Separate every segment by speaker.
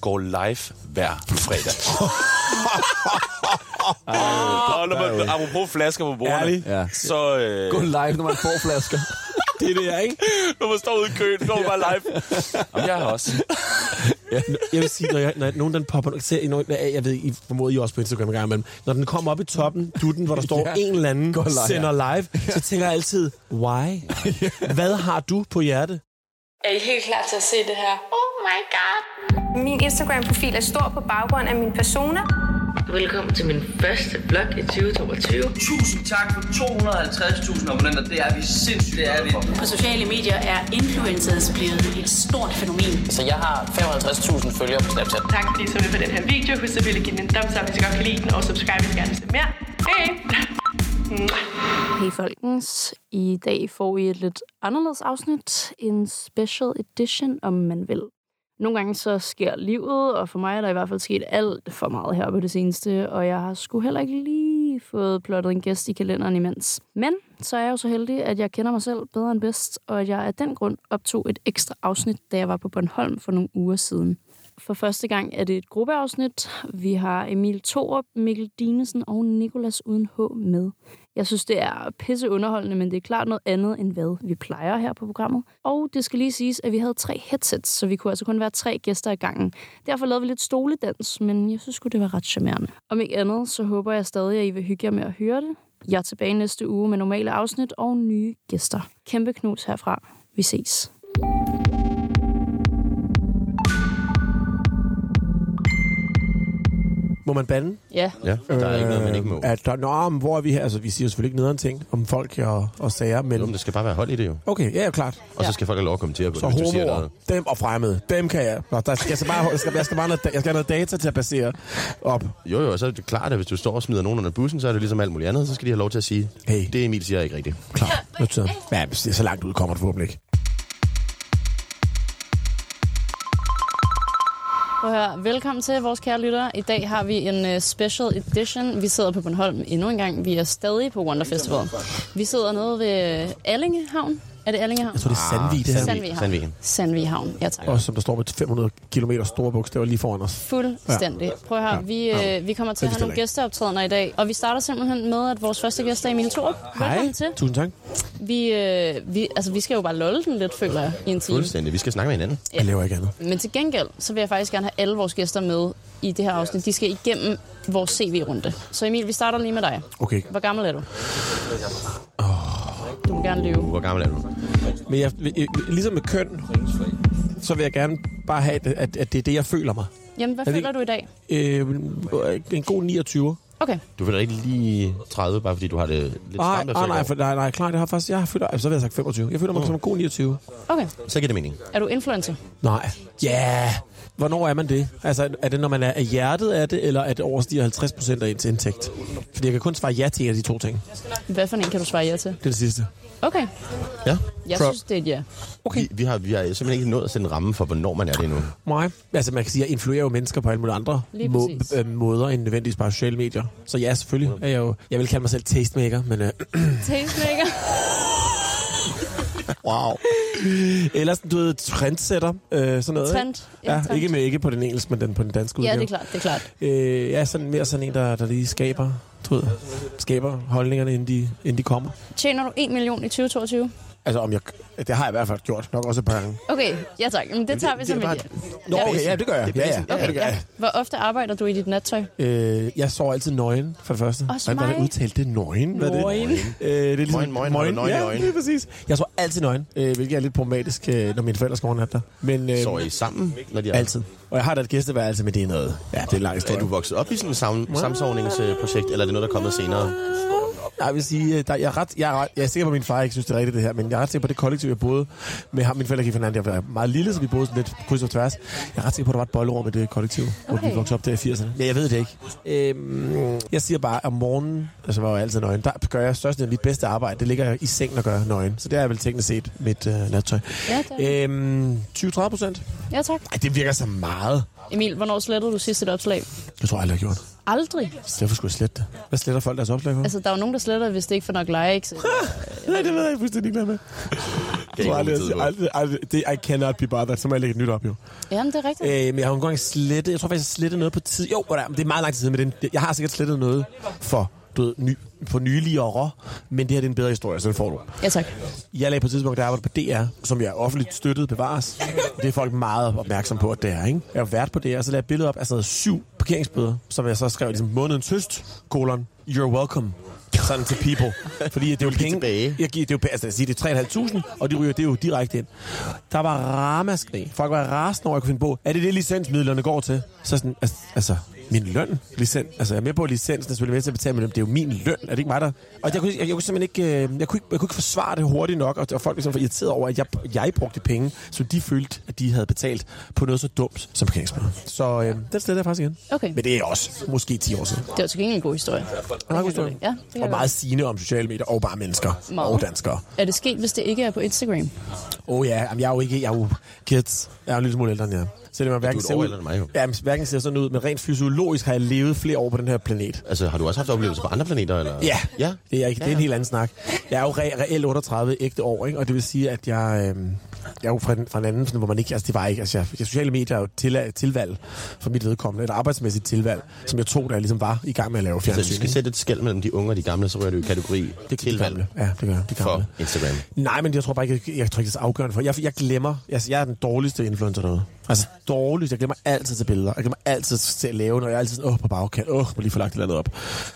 Speaker 1: går live hver fredag. og når man, apropos flasker på bordene,
Speaker 2: Ærligt?
Speaker 1: ja.
Speaker 3: Ja.
Speaker 1: så... Øh,
Speaker 3: Gå live, når man får flasker.
Speaker 2: Det er det, jeg ikke?
Speaker 1: når man står ude i køen, går man bare live. Jamen, jeg har også.
Speaker 2: Jeg vil sige, når, jeg, når nogen den popper, ser, I nogen, jeg ved, I formoder I er også på Instagram en gang imellem, når den kommer op i toppen, dutten, hvor der står
Speaker 3: Ja.
Speaker 2: ja. en eller anden,
Speaker 3: Gå live.
Speaker 2: sender live, så tænker jeg altid, why? Hvad har du på hjerte?
Speaker 4: Er I helt klar til at se det her?
Speaker 5: Oh my god.
Speaker 6: Min Instagram-profil er stor på baggrund af min persona.
Speaker 7: Velkommen til min første blog i 2022.
Speaker 8: Tusind tak for 250.000 abonnenter. Det er vi sindssygt det er vi.
Speaker 9: På sociale medier er influencers blevet et stort fænomen.
Speaker 10: Så jeg har 55.000 følgere på Snapchat.
Speaker 9: Tak fordi I så med på den her video. Husk at ville give den en thumbs up, hvis I godt kan lide den, og subscribe, hvis I gerne vil se mere. Hej!
Speaker 5: Hey folkens, i dag får I et lidt anderledes afsnit. En special edition, om man vil. Nogle gange så sker livet, og for mig er der i hvert fald sket alt for meget her på det seneste, og jeg har sgu heller ikke lige fået plottet en gæst i kalenderen imens. Men så er jeg jo så heldig, at jeg kender mig selv bedre end bedst, og at jeg af den grund optog et ekstra afsnit, da jeg var på Bornholm for nogle uger siden. For første gang er det et gruppeafsnit. Vi har Emil Thorup, Mikkel Dinesen og Nikolas uden H med. Jeg synes, det er pisseunderholdende, men det er klart noget andet, end hvad vi plejer her på programmet. Og det skal lige siges, at vi havde tre headsets, så vi kunne altså kun være tre gæster ad gangen. Derfor lavede vi lidt stoledans, men jeg synes sgu, det var ret charmerende. Om ikke andet, så håber jeg stadig, at I vil hygge jer med at høre det. Jeg er tilbage næste uge med normale afsnit og nye gæster. Kæmpe knus herfra. Vi ses.
Speaker 2: Må man bande?
Speaker 5: Ja,
Speaker 3: Der er ikke noget, man ikke må.
Speaker 2: At der, nå, men hvor er vi her? Altså, vi siger jo selvfølgelig ikke nederen ting om folk og, og sager,
Speaker 3: Jo, men
Speaker 2: men...
Speaker 3: der skal bare være hold i det jo.
Speaker 2: Okay, ja, ja, klart.
Speaker 3: Og så skal folk have lov at kommentere på
Speaker 2: Så
Speaker 3: det, hvis du siger
Speaker 2: homoer,
Speaker 3: noget.
Speaker 2: dem og fremmede, dem kan jeg. Nå, der, jeg, skal bare, jeg, skal, jeg, skal bare noget, jeg skal have noget data til at basere op.
Speaker 3: Jo, jo, og så er det klart, at hvis du står og smider nogen under bussen, så er det ligesom alt muligt andet, så skal de have lov til at sige,
Speaker 2: Hey.
Speaker 3: det Emil siger er ikke rigtigt.
Speaker 2: Klar, noteret. Ja, men så langt ud kommer det forhåbentlig ikke.
Speaker 5: Prøv at høre. Velkommen til vores kære lyttere. I dag har vi en øh, special edition. Vi sidder på Bornholm endnu en gang. Vi er stadig på Wonder Festival. Vi sidder nede ved øh, Allingehavn. Er det Allingehavn?
Speaker 2: Jeg tror, det er Sandvig, det her.
Speaker 5: Sandvig Havn.
Speaker 3: Sandvig.
Speaker 5: Sandvig Havn, ja tak.
Speaker 2: Og som der står med 500 km store bogstaver lige foran os.
Speaker 5: Fuldstændig. Prøv at høre, vi, øh, vi kommer til at have nogle gæsteoptrædener i dag, og vi starter simpelthen med, at vores første gæst er Emil Thorup. Velkommen til.
Speaker 2: Tusind tak.
Speaker 5: Vi, øh, vi, altså, vi skal jo bare lolle den lidt, føler jeg, i en time.
Speaker 3: Fuldstændig. Vi skal snakke med hinanden.
Speaker 2: Jeg laver ikke andet.
Speaker 5: Men til gengæld, så vil jeg faktisk gerne have alle vores gæster med i det her afsnit. De skal igennem vores CV-runde. Så Emil, vi starter lige med dig.
Speaker 2: Okay,
Speaker 5: Hvor gammel er du? Oh. Du må gerne lyve.
Speaker 3: Uh, Hvor gammel er du?
Speaker 2: men jeg, jeg- ligesom med køn, så vil jeg gerne bare have, at- at, at det er det, jeg føler mig.
Speaker 5: Jamen, hvad
Speaker 2: Er det-
Speaker 5: føler du i dag?
Speaker 2: Øh, en god 29.
Speaker 5: Okay.
Speaker 3: Du føler ikke lige 30, bare fordi du har det lidt
Speaker 2: Nej,
Speaker 3: stramt efter
Speaker 2: Ah, nej,
Speaker 3: i
Speaker 2: nej,
Speaker 3: går.
Speaker 2: for, nej, nej, klar, det har jeg faktisk, jeg føler, altså, så vil jeg have sagt 25. Jeg føler mig som en god 29.
Speaker 5: Okay.
Speaker 3: Så giver det mening.
Speaker 5: Er du influencer?
Speaker 2: Nej. Ja. Yeah. Hvornår er man det? Altså, er det, når man er af hjertet af det, eller at det overstiger 50 procent af ens indtægt? Fordi jeg kan kun svare ja til en af de to ting. Det
Speaker 5: Hvad for en kan du svare ja til?
Speaker 2: er det sidste.
Speaker 5: Okay.
Speaker 3: Ja.
Speaker 5: Jeg
Speaker 2: Pro-
Speaker 5: synes, det er et ja.
Speaker 2: Okay.
Speaker 3: Vi, vi, har, vi har simpelthen ikke nået at sætte en ramme for, hvornår man er det endnu.
Speaker 2: Nej. Altså, man kan sige, at jeg influerer jo mennesker på alle mulige andre
Speaker 5: Lige
Speaker 2: må-
Speaker 5: præcis.
Speaker 2: øh, måder end nødvendigvis bare sociale medier. Så ja, selvfølgelig er jeg jo... Jeg vil kalde mig selv tastemaker, men... Øh,
Speaker 5: Tastemaker.
Speaker 2: wow. Ellers, du ved, trendsetter, øh, sådan noget.
Speaker 5: Trend.
Speaker 2: Ikke? Ja,
Speaker 5: trend.
Speaker 2: ikke, med, ikke på den engelske, men den, på den danske
Speaker 5: Ja,
Speaker 2: udgave.
Speaker 5: det er klart, det er klart.
Speaker 2: Øh, jeg er sådan, mere sådan en, der, der lige skaber, du ved, skaber holdningerne, inden de, inden de kommer.
Speaker 5: Tjener du 1 million i 2022?
Speaker 2: Altså, om jeg, det har jeg i hvert fald gjort. Nok også et par gange.
Speaker 5: Okay, ja tak. Men det tager vi
Speaker 3: det
Speaker 5: som
Speaker 3: er
Speaker 5: et ja.
Speaker 3: bare-
Speaker 2: Nå,
Speaker 5: Ja.
Speaker 2: okay, ja, det gør jeg. Ja, ja, ja,
Speaker 5: Okay,
Speaker 2: det gør
Speaker 5: ja.
Speaker 2: jeg.
Speaker 5: Hvor ofte arbejder du i dit nattøj?
Speaker 2: Øh, jeg sover altid nøgen, for det første.
Speaker 5: Også
Speaker 2: Hvordan- Hvordan
Speaker 5: mig.
Speaker 2: udtalte det? Nøgen? Hvad er det?
Speaker 5: Nøgen.
Speaker 2: Øh, det er ligesom...
Speaker 3: Møgen, møgen, har du nøgen i
Speaker 2: ja,
Speaker 3: øjnene?
Speaker 2: lige præcis. Jeg sover altid nøgen, øh, hvilket er lidt problematisk, øh, når mine forældre skal overnatte der. Men øh,
Speaker 3: Sover I sammen, når de er...
Speaker 2: altid. Og jeg har da et gæsteværelse, men det er noget. Ja, det er en lang
Speaker 3: Er
Speaker 2: historie.
Speaker 3: du vokset op i sådan et sam- samsovningsprojekt, eller er det noget, der er kommet senere?
Speaker 2: Jeg vil sige, øh, der, jeg, er ret, jeg, er, ret- jeg er sikker på, at min far ikke synes, det er rigtigt det her, men jeg er ret sikker på, at det kollektiv, jeg boede med ham, min forældre gik fra hinanden, jeg var meget lille, så vi boede sådan lidt kryds og tværs. Jeg er ret sikker på, at der var et bollerum i det kollektiv, okay. hvor
Speaker 5: Okay.
Speaker 2: vi voksede op der i 80'erne. Ja, jeg ved det ikke. Øhm, jeg siger bare, at om morgenen, altså var jeg altid nøgen, der gør jeg størst af mit bedste arbejde. Det ligger jeg i sengen og gør nøgen, så det er vel teknisk set mit øh, nattøj.
Speaker 5: Ja, det
Speaker 2: Øhm, 20-30 procent?
Speaker 5: Ja tak.
Speaker 2: Ej, det virker så meget.
Speaker 5: Emil, hvornår slettede du sidst et opslag?
Speaker 2: Det tror jeg aldrig, jeg har gjort.
Speaker 5: Aldrig.
Speaker 2: Derfor skulle jeg slette det. Hvad sletter folk deres opslag for?
Speaker 5: Altså, der er jo nogen, der sletter, hvis det ikke får nok likes.
Speaker 2: Nej, det ved jeg fuldstændig ikke med.
Speaker 3: Det er
Speaker 2: aldrig,
Speaker 3: ikke
Speaker 2: aldrig, aldrig, aldrig, det, I cannot be bothered. Så må jeg lægge et nyt op, jo.
Speaker 11: Jamen, det er rigtigt.
Speaker 2: Øh, men jeg har jo engang slettet, jeg tror faktisk, jeg slettede noget på tid. Jo, hvor der- men det er meget lang tid siden, men den, jeg har sikkert slettet noget for, du ved, ny, for nyligere, men det her det er en bedre historie, så den får du.
Speaker 11: Ja, tak.
Speaker 2: Jeg lagde på et tidspunkt, der arbejdede på DR, som jeg offentligt støttede bevares. Det er folk meget opmærksom på, at det er, ikke? Jeg har været på DR, og så lagde jeg et billede op af sådan noget syv parkeringsbøder, som jeg så skrev ligesom månedens høst, kolon, you're welcome. Sådan til people. Fordi det er jo penge,
Speaker 3: tilbage.
Speaker 2: Jeg giver, det er jo, altså, jeg siger, det er 3.500, og de ryger det er jo direkte ind. Der var ramaskrig. Folk var rasende over, at jeg kunne finde på, er det det, licensmidlerne går til? Så sådan, altså, altså min løn, licens, altså jeg er med på, at licensen er selvfølgelig med til at betale min løn, det er jo min løn, er det ikke mig, der... Og jeg kunne, jeg, jeg kunne simpelthen ikke, øh, jeg kunne ikke, jeg kunne ikke forsvare det hurtigt nok, og, og folk ligesom var irriteret over, at jeg, jeg brugte penge, som de følte, at de havde betalt på noget så dumt som parkeringsbøder. Så øh, den sletter jeg faktisk igen.
Speaker 11: Okay.
Speaker 2: Men det er også måske 10 år siden.
Speaker 11: Det var til gengæld en god historie.
Speaker 2: Meget god historie.
Speaker 11: Ja, det kan
Speaker 2: og
Speaker 11: jeg
Speaker 2: meget sigende om sociale medier, og bare mennesker,
Speaker 11: Meget.
Speaker 2: og danskere.
Speaker 11: Er det sket, hvis det ikke er på Instagram?
Speaker 2: Åh oh, ja, Jamen, jeg er jo ikke, jeg er jo kids. Jeg er jo en lille smule ældre end jer. Så det var hverken
Speaker 3: et
Speaker 2: ser
Speaker 3: år
Speaker 2: ud,
Speaker 3: ældre end mig, jo.
Speaker 2: Ja, men hverken ser sådan ud, men rent fysiologisk har jeg levet flere år på den her planet.
Speaker 3: Altså, har du også haft oplevelser på andre planeter? Eller?
Speaker 2: Ja,
Speaker 3: ja.
Speaker 2: Det, er, ikke, det er en helt anden snak. Jeg er jo re- reelt 38 ægte år, ikke? og det vil sige, at jeg, øh, jeg er jo fra, en- fra en anden, sådan, hvor man ikke, altså det var ikke, altså jeg, jeg- sociale medier er jo til, tilvalg for mit vedkommende, et arbejdsmæssigt tilvalg, som jeg tog, da jeg ligesom var i gang med at lave
Speaker 3: Så du
Speaker 2: fjernsyn.
Speaker 3: skal
Speaker 2: ikke?
Speaker 3: sætte et skæld mellem de unge og de gamle, så rører du i kategori
Speaker 2: Det kan de
Speaker 3: tilvalg
Speaker 2: gamle. Ja, det gør jeg. De gamle.
Speaker 3: for Instagram.
Speaker 2: Nej, men jeg tror bare ikke, jeg, jeg tror ikke, det er så afgørende for. Jeg, jeg glemmer, altså, jeg er den dårligste influencer derude. Altså dårligst, jeg glemmer altid til billeder. Jeg glemmer altid til at lave noget. Jeg er altid sådan, åh, på bagkant, åh, må lige få lagt det andet op.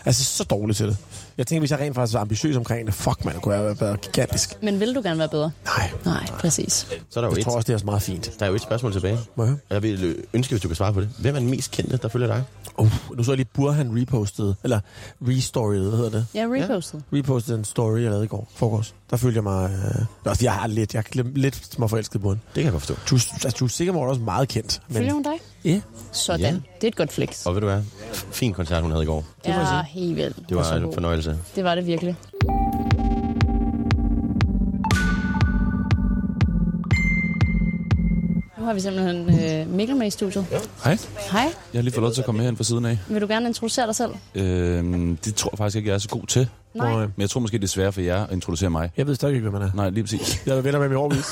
Speaker 2: Altså, så dårlig til det. Jeg tænker, hvis jeg rent faktisk var ambitiøs omkring det, fuck man, kunne jeg have været gigantisk.
Speaker 11: Men vil du gerne være bedre?
Speaker 2: Nej,
Speaker 11: Nej, præcis.
Speaker 3: Så er der jo,
Speaker 2: jeg
Speaker 3: et,
Speaker 2: tror også, det er også meget fint.
Speaker 3: der er jo et spørgsmål tilbage.
Speaker 2: Må jeg høre?
Speaker 3: Jeg vil øh, ønske, hvis du kan svare på det. Hvem er den mest kendte, der følger dig?
Speaker 2: Uh, nu så jeg lige Burhan repostede, eller restoryede, hvad hedder det?
Speaker 11: Ja, repostet.
Speaker 2: Repostede en story, jeg lavede i går, forgårs. Der følte jeg mig... Øh... Nå, altså, jeg har lidt, jeg er lidt småforelsket på hende.
Speaker 3: Det kan jeg godt forstå.
Speaker 2: Du, altså, du er sikkert også meget kendt.
Speaker 11: Ja. Følger hun dig?
Speaker 2: Ja.
Speaker 11: Sådan.
Speaker 3: Ja.
Speaker 11: Det er et godt flex.
Speaker 3: Og ved du hvad? Fin koncert, hun havde i går.
Speaker 11: Ja, helt vildt.
Speaker 3: Det var en fornøjelse.
Speaker 11: Det var det virkelig. Nu har vi simpelthen øh, Mikkel med i studiet.
Speaker 1: Hej.
Speaker 11: Hej,
Speaker 1: Jeg har lige fået lov til at komme herhen fra siden af.
Speaker 11: vil du gerne introducere dig selv?
Speaker 1: Øhm, det tror jeg faktisk ikke, jeg er så god til.
Speaker 11: Nej.
Speaker 1: Men jeg tror måske, det er sværere for jer at introducere mig.
Speaker 2: Jeg ved stadig ikke, hvem man er.
Speaker 1: Nej, lige præcis.
Speaker 2: Jeg har været venner med mig i årvis.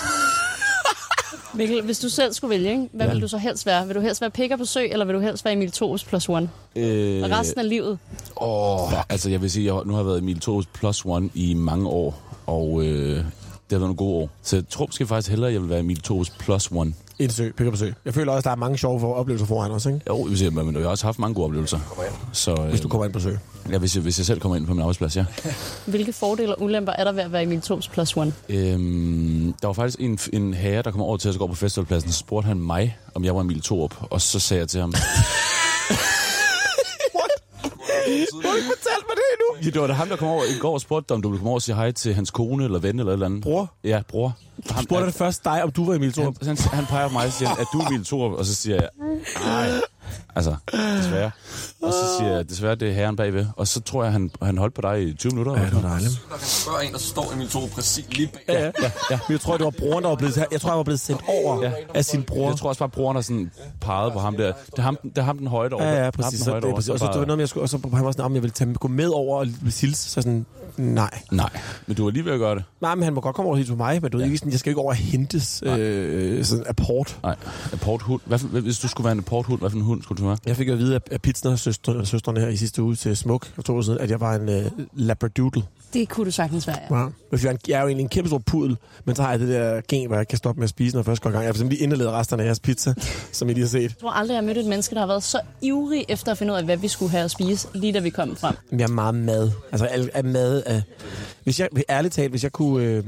Speaker 11: Mikkel, hvis du selv skulle vælge, ikke? hvad ja.
Speaker 2: Ja.
Speaker 11: vil du så helst være? Vil du helst være picker på sø, eller vil du helst være Emil Thorups plus one?
Speaker 1: Øh,
Speaker 11: Og resten af livet?
Speaker 1: Åh, altså jeg vil sige, at jeg nu har været Emil Thorups plus one i mange år, og øh, det har været nogle gode år. Så jeg tror måske faktisk hellere, at jeg vil være Emil Thorups plus one.
Speaker 2: En sø, pick på sø. Jeg føler også, der er mange sjove for oplevelser foran os, ikke?
Speaker 1: Jo, jeg vil sige, men jeg har også haft mange gode oplevelser. Så, øh,
Speaker 2: Hvis du kommer ind på sø.
Speaker 1: ja, hvis, jeg, hvis jeg selv kommer ind på min arbejdsplads, ja.
Speaker 11: Hvilke fordele og ulemper er der ved at være Emil Thorups plus one?
Speaker 1: Øhm, der var faktisk en, en herre, der kom over til os i går på festivalpladsen, så spurgte han mig, om jeg var Emil Thorup, og så sagde jeg til ham...
Speaker 2: Fortæl mig det endnu!
Speaker 1: Ja, det var da ham, der kom over i går og spurgte dig, om du ville komme over og sige hej til hans kone eller ven eller et eller andet.
Speaker 2: Bror?
Speaker 1: Ja, bror. For Ham,
Speaker 2: Spurgte det først dig, om du var Emil Thorup?
Speaker 1: han, han, han peger på mig og siger, at du er Emil Thorup, og så siger jeg, nej, altså, desværre. Og så siger jeg, desværre, det er herren bagved. Og så tror jeg, han, han holdt på dig i 20 minutter. eller sådan noget.
Speaker 2: dejligt.
Speaker 1: Ja, ja, ja. ja.
Speaker 2: Men jeg tror, det var broren, der var blevet... Jeg tror, jeg var blevet sendt over
Speaker 1: Ja.
Speaker 2: af sin bror.
Speaker 1: Jeg tror også bare, at broren har sådan peget på ham der. Det er ham, det er ham den højde over.
Speaker 2: Ja, ja,
Speaker 1: Ham, den
Speaker 2: præcis. Så,
Speaker 1: højde
Speaker 2: det, er
Speaker 1: over.
Speaker 2: præcis. Og så, det var noget, med, jeg skulle, og så han var sådan, om jeg ville tage, gå med over og hilse. Så sådan, nej.
Speaker 1: Nej, men du var lige ved at gøre det.
Speaker 2: Nej, men han må godt komme over og hilse på mig, men du ja. ikke sådan, jeg skal jo ikke over og hentes øh, sådan apport.
Speaker 1: Nej, apporthund. Hvad for, hvis du skulle være en apporthund, hvad for en hund skulle du være?
Speaker 2: Jeg fik jo at vide af- af Pitsner søstrene, søstrene her i sidste uge til Smuk for to år siden, at jeg var en øh, labradoodle.
Speaker 11: Det kunne du sagtens være, ja.
Speaker 2: Ja. Jeg er en- jeg er jo egentlig en kæmpe stor pudel, men så har jeg det der gen, hvor jeg ikke kan stoppe med at spise, når jeg først går i gang. Jeg har simpelthen indledet resterne af jeres pizza, som I lige har set.
Speaker 11: Jeg tror aldrig, jeg har mødt et menneske, der har været så ivrig efter at finde ud af, hvad vi skulle have at spise, lige da vi kom frem.
Speaker 2: Men Jeg er meget mad. Altså al, al mad af... Hvis jeg, ærligt talt, hvis jeg kunne... Øh,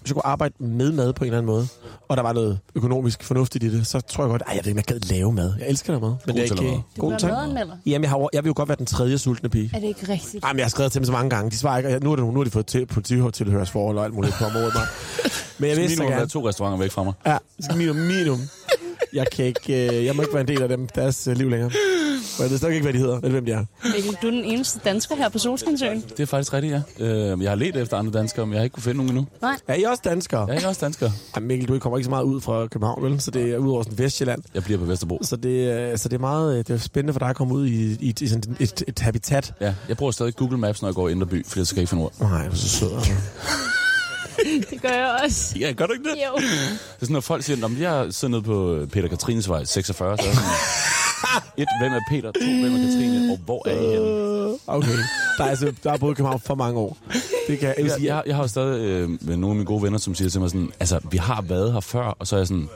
Speaker 2: hvis jeg kunne arbejde med mad på en eller anden måde, og der var noget økonomisk fornuftigt i det, så tror jeg godt, at jeg ved ikke, om jeg gad lave mad. Jeg elsker da mad. Men
Speaker 1: til at lave mad.
Speaker 11: Du
Speaker 2: god
Speaker 11: bliver
Speaker 2: tak.
Speaker 11: madanmelder.
Speaker 2: Jamen, jeg, har, jo- jeg vil jo godt være den tredje sultne pige.
Speaker 11: Er det ikke rigtigt?
Speaker 2: Jamen, jeg har skrevet til dem så mange gange. De svarer ikke, og jeg- nu, er det, nu har de fået til, polititilhørsforhold og alt muligt på området. mig. Men jeg
Speaker 1: Jeg
Speaker 2: vidste
Speaker 1: vidste
Speaker 2: så
Speaker 1: gerne.
Speaker 2: gerne.
Speaker 1: to restauranter væk fra mig.
Speaker 2: Ja, så minimum, minimum. Jeg kan ikke, øh, jeg må ikke være en del af dem, deres øh, liv længere. Og jeg ved stadig ikke, hvad de hedder, eller hvem de er.
Speaker 11: Mikkel, du er den eneste dansker her på Solskinsøen.
Speaker 1: Det er faktisk rigtigt, ja. Øh, jeg har let efter andre danskere, men jeg har ikke kunne finde nogen endnu.
Speaker 11: Nej,
Speaker 2: Er I også danskere?
Speaker 1: Jeg er ikke også dansker.
Speaker 2: Ja. Mikkel, du kommer ikke så meget ud fra København, vel? Så det er ud over sådan Vestjylland.
Speaker 1: Jeg bliver på Vesterbro.
Speaker 2: Så det, øh, så det er meget øh, det er spændende for dig at komme ud i, i, i sådan et, et habitat.
Speaker 1: Ja, jeg bruger stadig Google Maps, når jeg går i Indre By, fordi så kan jeg ikke finde ord.
Speaker 2: Nej, hvor så sød. altså.
Speaker 11: Det gør jeg også.
Speaker 1: Ja, gør du ikke det?
Speaker 11: Jo.
Speaker 1: Det er sådan, når folk siger, at jeg sidder nede på øh, Peter Katrines vej 46, så er jeg sådan, et, hvem er Peter, to, hvem er Katrine, og hvor er I henne?
Speaker 2: Okay. Der er, altså, der er boet i København for mange år. Det kan jeg,
Speaker 1: Jeg, jeg, jeg har jo stadig øh, med nogle af mine gode venner, som siger til mig sådan, altså, vi har været her før, og så er jeg sådan,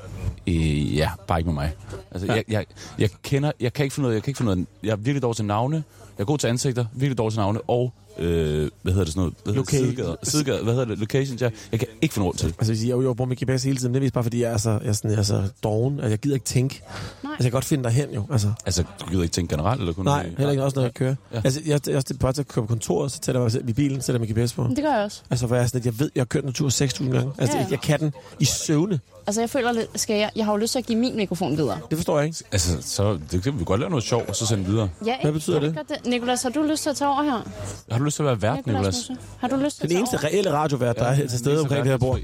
Speaker 1: øh, ja, bare ikke med mig. Altså, jeg, jeg, jeg kender, jeg kan ikke finde noget, jeg kan ikke finde noget, jeg er virkelig dårlig til navne, jeg er god til ansigter, virkelig dårlig til navne, og øh, hvad hedder det sådan noget? Hvad hedder
Speaker 2: Location.
Speaker 1: det? Sidegader, sidegader, hvad hedder det? Locations, ja. Jeg kan ikke finde ord til.
Speaker 2: Altså, jeg, jeg bruger min GPS hele tiden, det er vist bare, fordi jeg er så, jeg er sådan, jeg er så doven, at jeg gider ikke tænke.
Speaker 11: Nej.
Speaker 2: Altså, jeg kan godt finde dig hen, jo. Altså,
Speaker 1: Altså, du gider ikke tænke generelt, eller kun...
Speaker 2: nej, heller ikke også, når jeg kører. Ja. Altså, jeg, jeg, jeg bare til at køre på kontoret, så sætter jeg mig selv i bilen, sætter min GPS på.
Speaker 11: Men Det gør jeg også.
Speaker 2: Altså, hvor jeg er sådan, at jeg ved, jeg har kørt en tur 6.000 gange. Altså,
Speaker 11: Ja, ja.
Speaker 2: ja. jeg kan den i søvne.
Speaker 11: Altså, jeg føler lidt, skal jeg, jeg har jo lyst til at give min mikrofon videre.
Speaker 2: Det forstår jeg ikke.
Speaker 1: Altså, så det, kan vi godt lave noget sjov, og så sende videre.
Speaker 11: Ja, ikke?
Speaker 2: Hvad betyder
Speaker 11: Kan vi
Speaker 2: det?
Speaker 11: godt det? Nikolas, har du lyst til at tage over her?
Speaker 1: Har du lyst til at være vært,
Speaker 11: Nikolas,
Speaker 1: Nicolas?
Speaker 11: Musse? har du lyst til at
Speaker 2: Den
Speaker 11: tage
Speaker 2: eneste
Speaker 11: over?
Speaker 2: reelle radiovært, der er til stede omkring det her bord.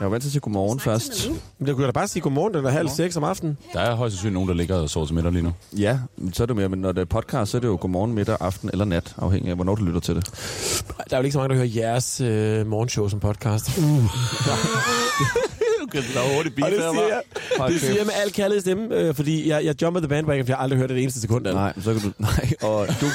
Speaker 8: Jeg var vant til at sige godmorgen først.
Speaker 2: Men jeg kunne da bare sige godmorgen, den er halv seks om aftenen.
Speaker 1: Der er højst sandsynligt nogen, der ligger og sover til middag lige nu.
Speaker 8: Ja, men så er det mere, men når det er podcast, så er det jo godmorgen, middag, aften eller nat, afhængig af, hvornår du lytter til det.
Speaker 2: Der er jo ikke så mange, der hører jeres øh, morgenshow som podcast. Uh.
Speaker 1: Okay, der er hurtigt bil
Speaker 2: Og det siger jeg, det siger jeg med al kærlighed stemme, øh, fordi jeg, jeg jumper the bandwagon, for jeg har aldrig hørt det, det eneste sekund. af det.
Speaker 8: Nej, men så kan du... Nej, og du,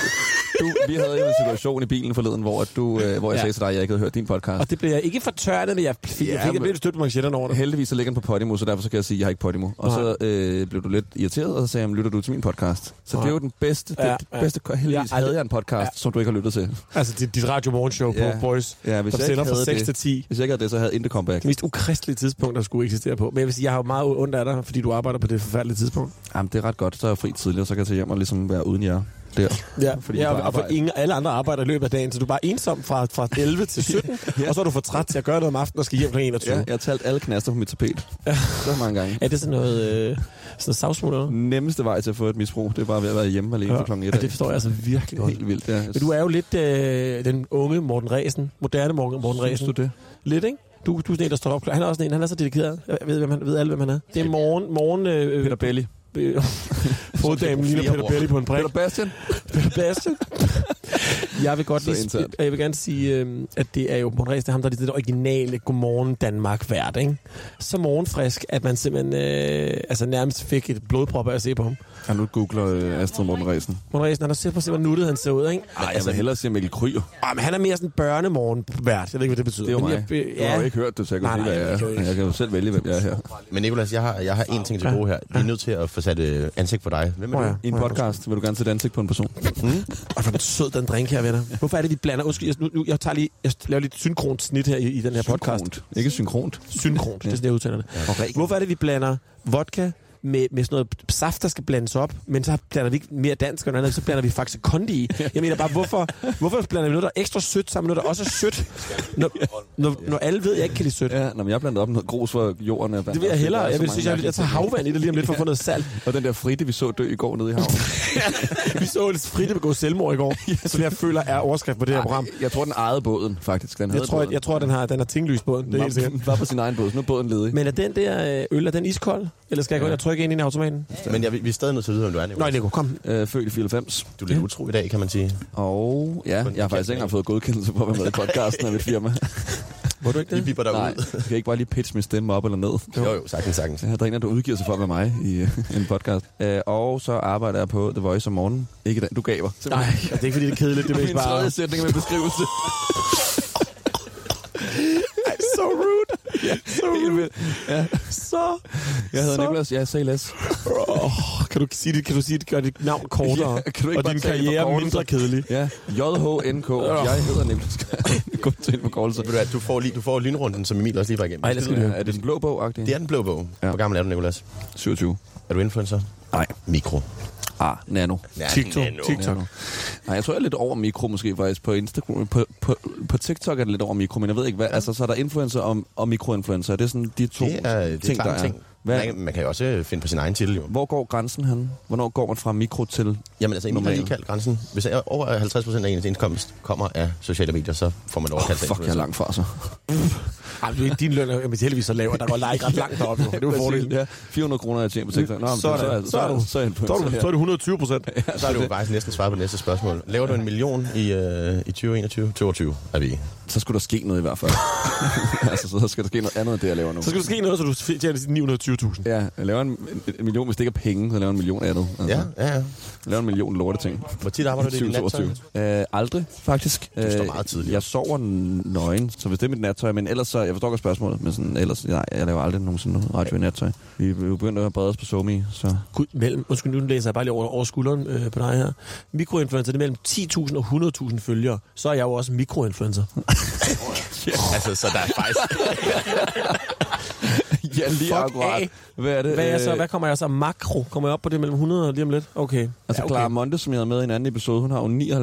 Speaker 8: du, vi havde jo en situation i bilen forleden, hvor, at du, øh, hvor jeg
Speaker 2: Ja.
Speaker 8: ja. sagde til dig, at jeg ikke havde hørt din
Speaker 2: Og
Speaker 8: podcast.
Speaker 2: det blev jeg ikke fortørnet, men jeg fik, ja, jeg
Speaker 8: Ja,
Speaker 2: fik men...
Speaker 8: men-
Speaker 2: lidt stødt på manchetterne over det.
Speaker 8: Heldigvis så ligger den på Podimo, så derfor så kan jeg sige, at jeg har ikke Podimo. Og så øh, blev du lidt irriteret, og så sagde jeg, "Men lytter du til min podcast? Så det er jo den bedste,
Speaker 2: Ja,
Speaker 8: ja, den
Speaker 2: ja.
Speaker 8: bedste heldigvis
Speaker 2: Ja,
Speaker 8: ja,
Speaker 2: ej,
Speaker 8: havde
Speaker 2: det-
Speaker 8: jeg en podcast,
Speaker 2: ja.
Speaker 8: ja. som du ikke har lyttet til.
Speaker 2: Altså dit, dit radio morgenshow ja. på
Speaker 8: Ja.
Speaker 2: Boys,
Speaker 8: Ja, hvis
Speaker 2: som
Speaker 8: jeg ikke
Speaker 2: sender fra
Speaker 8: havde
Speaker 2: 6
Speaker 8: det.
Speaker 2: til 10.
Speaker 8: Hvis jeg ikke havde det, så havde jeg intet comeback.
Speaker 2: Det mest ukristelige tidspunkt, der skulle eksistere på. Men jeg vil sige, jeg har jo meget ondt af dig, fordi du arbejder på det forfærdelige tidspunkt.
Speaker 8: Jamen, det er ret godt. Så er jeg fri tidligere, så kan jeg tage hjem og ligesom være uden jer. Der.
Speaker 2: Ja,
Speaker 8: Fordi
Speaker 2: fordi ja
Speaker 8: du
Speaker 2: og, og for
Speaker 8: arbejder.
Speaker 2: ingen, alle andre arbejder i løbet af dagen, så du er bare ensom fra, fra 11 til 17, ja. og så er du for træt til at gøre noget om aftenen og skal hjem kl. 21.
Speaker 8: Ja,
Speaker 2: Ja,
Speaker 8: jeg har talt alle knaster på mit tapet. Ja. Så mange gange.
Speaker 2: Er det sådan noget, øh, sådan noget savsmul eller noget?
Speaker 8: Nemmeste vej til at få et misbrug, det er bare ved at være hjemme alene ja. fra klokken 1.
Speaker 2: ja, det forstår jeg altså virkelig godt.
Speaker 8: Helt vildt, ja.
Speaker 2: Men du er jo lidt øh, den unge Morten Ræsen, moderne Morten, Morten Ræsen.
Speaker 8: det?
Speaker 2: Lidt, ikke? Du, du er sådan en, der står op klar. Han er også sådan en, han er så dedikeret. Jeg ved, hvem han, ved alle, hvem han er. Det er morgen... morgen øh, Peter Belli. Foddamen ligner
Speaker 8: flere
Speaker 2: Peter
Speaker 8: ord.
Speaker 2: Belli på en prik.
Speaker 8: Peter Bastian?
Speaker 2: Sebastian. jeg vil godt
Speaker 8: Så
Speaker 2: lige,
Speaker 8: internt.
Speaker 2: jeg vil gerne sige, øhm, at det er jo Morten Ræs, det er ham, der er det, det originale Godmorgen Danmark vært, ikke? Så morgenfrisk, at man simpelthen øh, altså nærmest fik et blodprop af at se på ham.
Speaker 8: Ja, nu googler øh, Astrid Morten Ræsen.
Speaker 2: Morten Ræsen, han har set på, hvor nuttet han ser ud, ikke?
Speaker 8: Ej, jeg vil hellere se Mikkel Kryger.
Speaker 2: Åh, men han er mere sådan børnemorgenvært. Jeg ved ikke, hvad det betyder.
Speaker 8: Det er jo
Speaker 2: Men
Speaker 8: mig.
Speaker 2: Jeg, øh,
Speaker 8: Du har jo ikke hørt det, så jeg kan
Speaker 2: Nej,
Speaker 8: sige,
Speaker 2: nej,
Speaker 8: hvad jeg
Speaker 2: det kan jeg
Speaker 8: er.
Speaker 2: ikke.
Speaker 8: Jeg kan jo selv vælge, hvem jeg er her.
Speaker 3: Men Nicolas, jeg har, jeg har én ting til gode her. Vi er nødt til at få sat øh, ansigt på dig. Hvem er
Speaker 2: Nå
Speaker 3: du?
Speaker 2: ja.
Speaker 8: I en podcast vil du gerne sætte ansigt på en person.
Speaker 2: Ej, hvor er den sød, den drink her, venner. Hvorfor er det, vi blander? Undskyld, jeg, nu, nu, jeg, tager lige, jeg laver lidt synkront snit her i, i den her podcast.
Speaker 8: Synkront. Ikke synkront.
Speaker 2: synkront, det er sådan, jeg udtaler det. Hvorfor er det, vi blander vodka med, med sådan noget saft, der skal blandes op, men så blander vi ikke mere dansk og noget andet, så blander vi faktisk kondi i. Jeg mener bare, hvorfor, hvorfor blander vi noget, der er ekstra sødt sammen med noget, der også er sødt, når, når, når alle ved, at jeg ikke kan lide sødt?
Speaker 8: Ja, når jeg blandt op med noget grus for jorden. og vand.
Speaker 2: Det vil jeg hellere.
Speaker 8: Der er
Speaker 2: Jeg
Speaker 8: så
Speaker 2: vil
Speaker 8: mange
Speaker 2: synes, jeg, jeg
Speaker 8: mærkelige
Speaker 2: tager
Speaker 8: ting.
Speaker 2: havvand i det lige om lidt for at få noget salt.
Speaker 8: Og den der fritte, vi så dø i går nede i havnen.
Speaker 2: Vi så et Fritte begå selvmord i går, som jeg føler er overskrift på det her program.
Speaker 8: Jeg tror, den ejede båden, faktisk. Den
Speaker 2: Jeg tror, jeg, jeg tror den har, den har tinglyst på den. Det er helt sikkert.
Speaker 8: den var på sin egen båd, så nu er båden ledig.
Speaker 2: Men er den der øh, øl, er den iskold? Eller skal jeg gå ind og trykke ind i automaten?
Speaker 3: Men jeg, vi er stadig nødt til at vide, hvem du er,
Speaker 2: Nej,
Speaker 3: Nicolas.
Speaker 2: Nico, kom.
Speaker 8: Øh, født i 94.
Speaker 3: Du er lidt utro i dag, kan man sige.
Speaker 8: Og ja, jeg har faktisk ikke engang fået godkendelse på at være med i podcasten af mit firma.
Speaker 2: Må du ikke
Speaker 3: Vi
Speaker 2: det?
Speaker 3: bipper dig
Speaker 8: Nej,
Speaker 3: ud.
Speaker 8: skal jeg ikke bare lige pitche min stemme op eller ned?
Speaker 3: Jo, jo, sagtens, sagtens.
Speaker 8: Der er en, der udgiver sig for at være mig i øh, en podcast. Øh, og så arbejder jeg på The Voice om morgenen. Ikke den, du gaver.
Speaker 2: Nej, det er ikke fordi, det er kedeligt. Det er mest
Speaker 8: Min
Speaker 2: bare...
Speaker 8: tredje sætning med beskrivelse.
Speaker 2: so rude. Yeah, so
Speaker 8: Helt
Speaker 2: rude.
Speaker 8: vildt. Ja.
Speaker 2: Så.
Speaker 8: Jeg hedder
Speaker 2: så-
Speaker 8: Niklas, jeg er say less.
Speaker 2: Åh, Oh, kan du sige det? Kan du sige det? Gør dit navn kortere.
Speaker 8: Ja, kan du ikke
Speaker 2: og
Speaker 8: bare
Speaker 2: din
Speaker 8: tage det
Speaker 2: karriere
Speaker 8: forkortet?
Speaker 2: mindre kedelig.
Speaker 8: Ja, JHNK. Jeg hedder Niklas. Gå til en forkortelse.
Speaker 3: Ved du hvad, du får, lige, du får lynrunden, som Emil også lige var igennem.
Speaker 2: Ej, lad os lige høre.
Speaker 8: Er det den blå bog -agtig?
Speaker 3: Det er den blå bog.
Speaker 8: Ja.
Speaker 3: Hvor gammel er du, Nicolas?
Speaker 8: 27.
Speaker 3: Er du influencer?
Speaker 8: Nej.
Speaker 3: Mikro.
Speaker 8: Ah, nano.
Speaker 3: Ja,
Speaker 2: TikTok.
Speaker 3: nano.
Speaker 2: TikTok.
Speaker 8: Nej, jeg tror, jeg er lidt over mikro måske faktisk på Instagram. På, på, på TikTok er det lidt over mikro, men jeg ved ikke hvad. Altså, så er der influencer og, og mikroinfluencer. Det er sådan de to
Speaker 3: Det er- det er klart en ting.
Speaker 8: Hvad?
Speaker 3: Man, man kan jo også øh, finde på sin egen titel, jo.
Speaker 8: Hvor går grænsen han? Hvornår går man fra mikro til
Speaker 3: Jamen altså, inden
Speaker 8: normalt?
Speaker 3: lige kaldt grænsen. Hvis er- over 50 procent af ens indkomst kommer af sociale medier, så får man lov at
Speaker 8: Oh,
Speaker 3: kalde sig
Speaker 8: fuck, jeg er
Speaker 3: influencer.
Speaker 8: langt fra så.
Speaker 2: Ej, men din løn er jo men heldigvis så lav, og der går like ret langt deroppe. jo. Det er jo fordelen.
Speaker 8: Ja, 400 kroner jeg tjener på TikTok. Nå, men
Speaker 2: så, er
Speaker 8: så, er,
Speaker 2: det,
Speaker 8: så,
Speaker 2: så, er du,
Speaker 8: så, er,
Speaker 2: så, er du, så er du 120 procent.
Speaker 3: Så har du jo faktisk næsten svaret på næste spørgsmål. Laver du en million i, øh, i 2021? 22 er vi i.
Speaker 8: så skulle der ske noget i hvert fald. altså, så skal der ske noget andet, end det jeg laver nu.
Speaker 2: Så skal der ske noget, så du tjener 920.000.
Speaker 8: Ja, jeg laver en, en- en million, hvis det ikke er penge, så laver jeg en million andet. Altså,
Speaker 3: Ja, ja, ja.
Speaker 8: Jeg laver en million lorte ting.
Speaker 3: Hvor tit arbejder du i din nattøj?
Speaker 8: Øh, aldrig, faktisk. Du
Speaker 3: står meget tidligt.
Speaker 8: Jeg sover n- nøgen, så hvis det er mit nattøj, men ellers så, jeg forstår godt spørgsmålet, men sådan, ellers, nej, jeg laver aldrig nogensinde radio i nattøj. Vi er jo begyndt at brede os på Somi, så...
Speaker 2: Gud, mellem, undskyld, nu læser jeg bare lige over, over skulderen øh, på dig her. Mikroinfluencer, det er mellem 10.000 og 100.000 følgere. Så er jeg jo også mikroinfluencer.
Speaker 3: Altså, så der er faktisk...
Speaker 8: ja, lige
Speaker 2: Fuck af.
Speaker 8: Hvad er det?
Speaker 2: Hvad, er jeg så,
Speaker 8: Øh,
Speaker 2: hvad kommer jeg så? Makro? Kommer jeg op på det mellem 100 og lige om lidt? Okay.
Speaker 8: Altså, ja, okay. Clara Monte, som jeg havde med i en anden episode, hun har jo 99,6.000 Så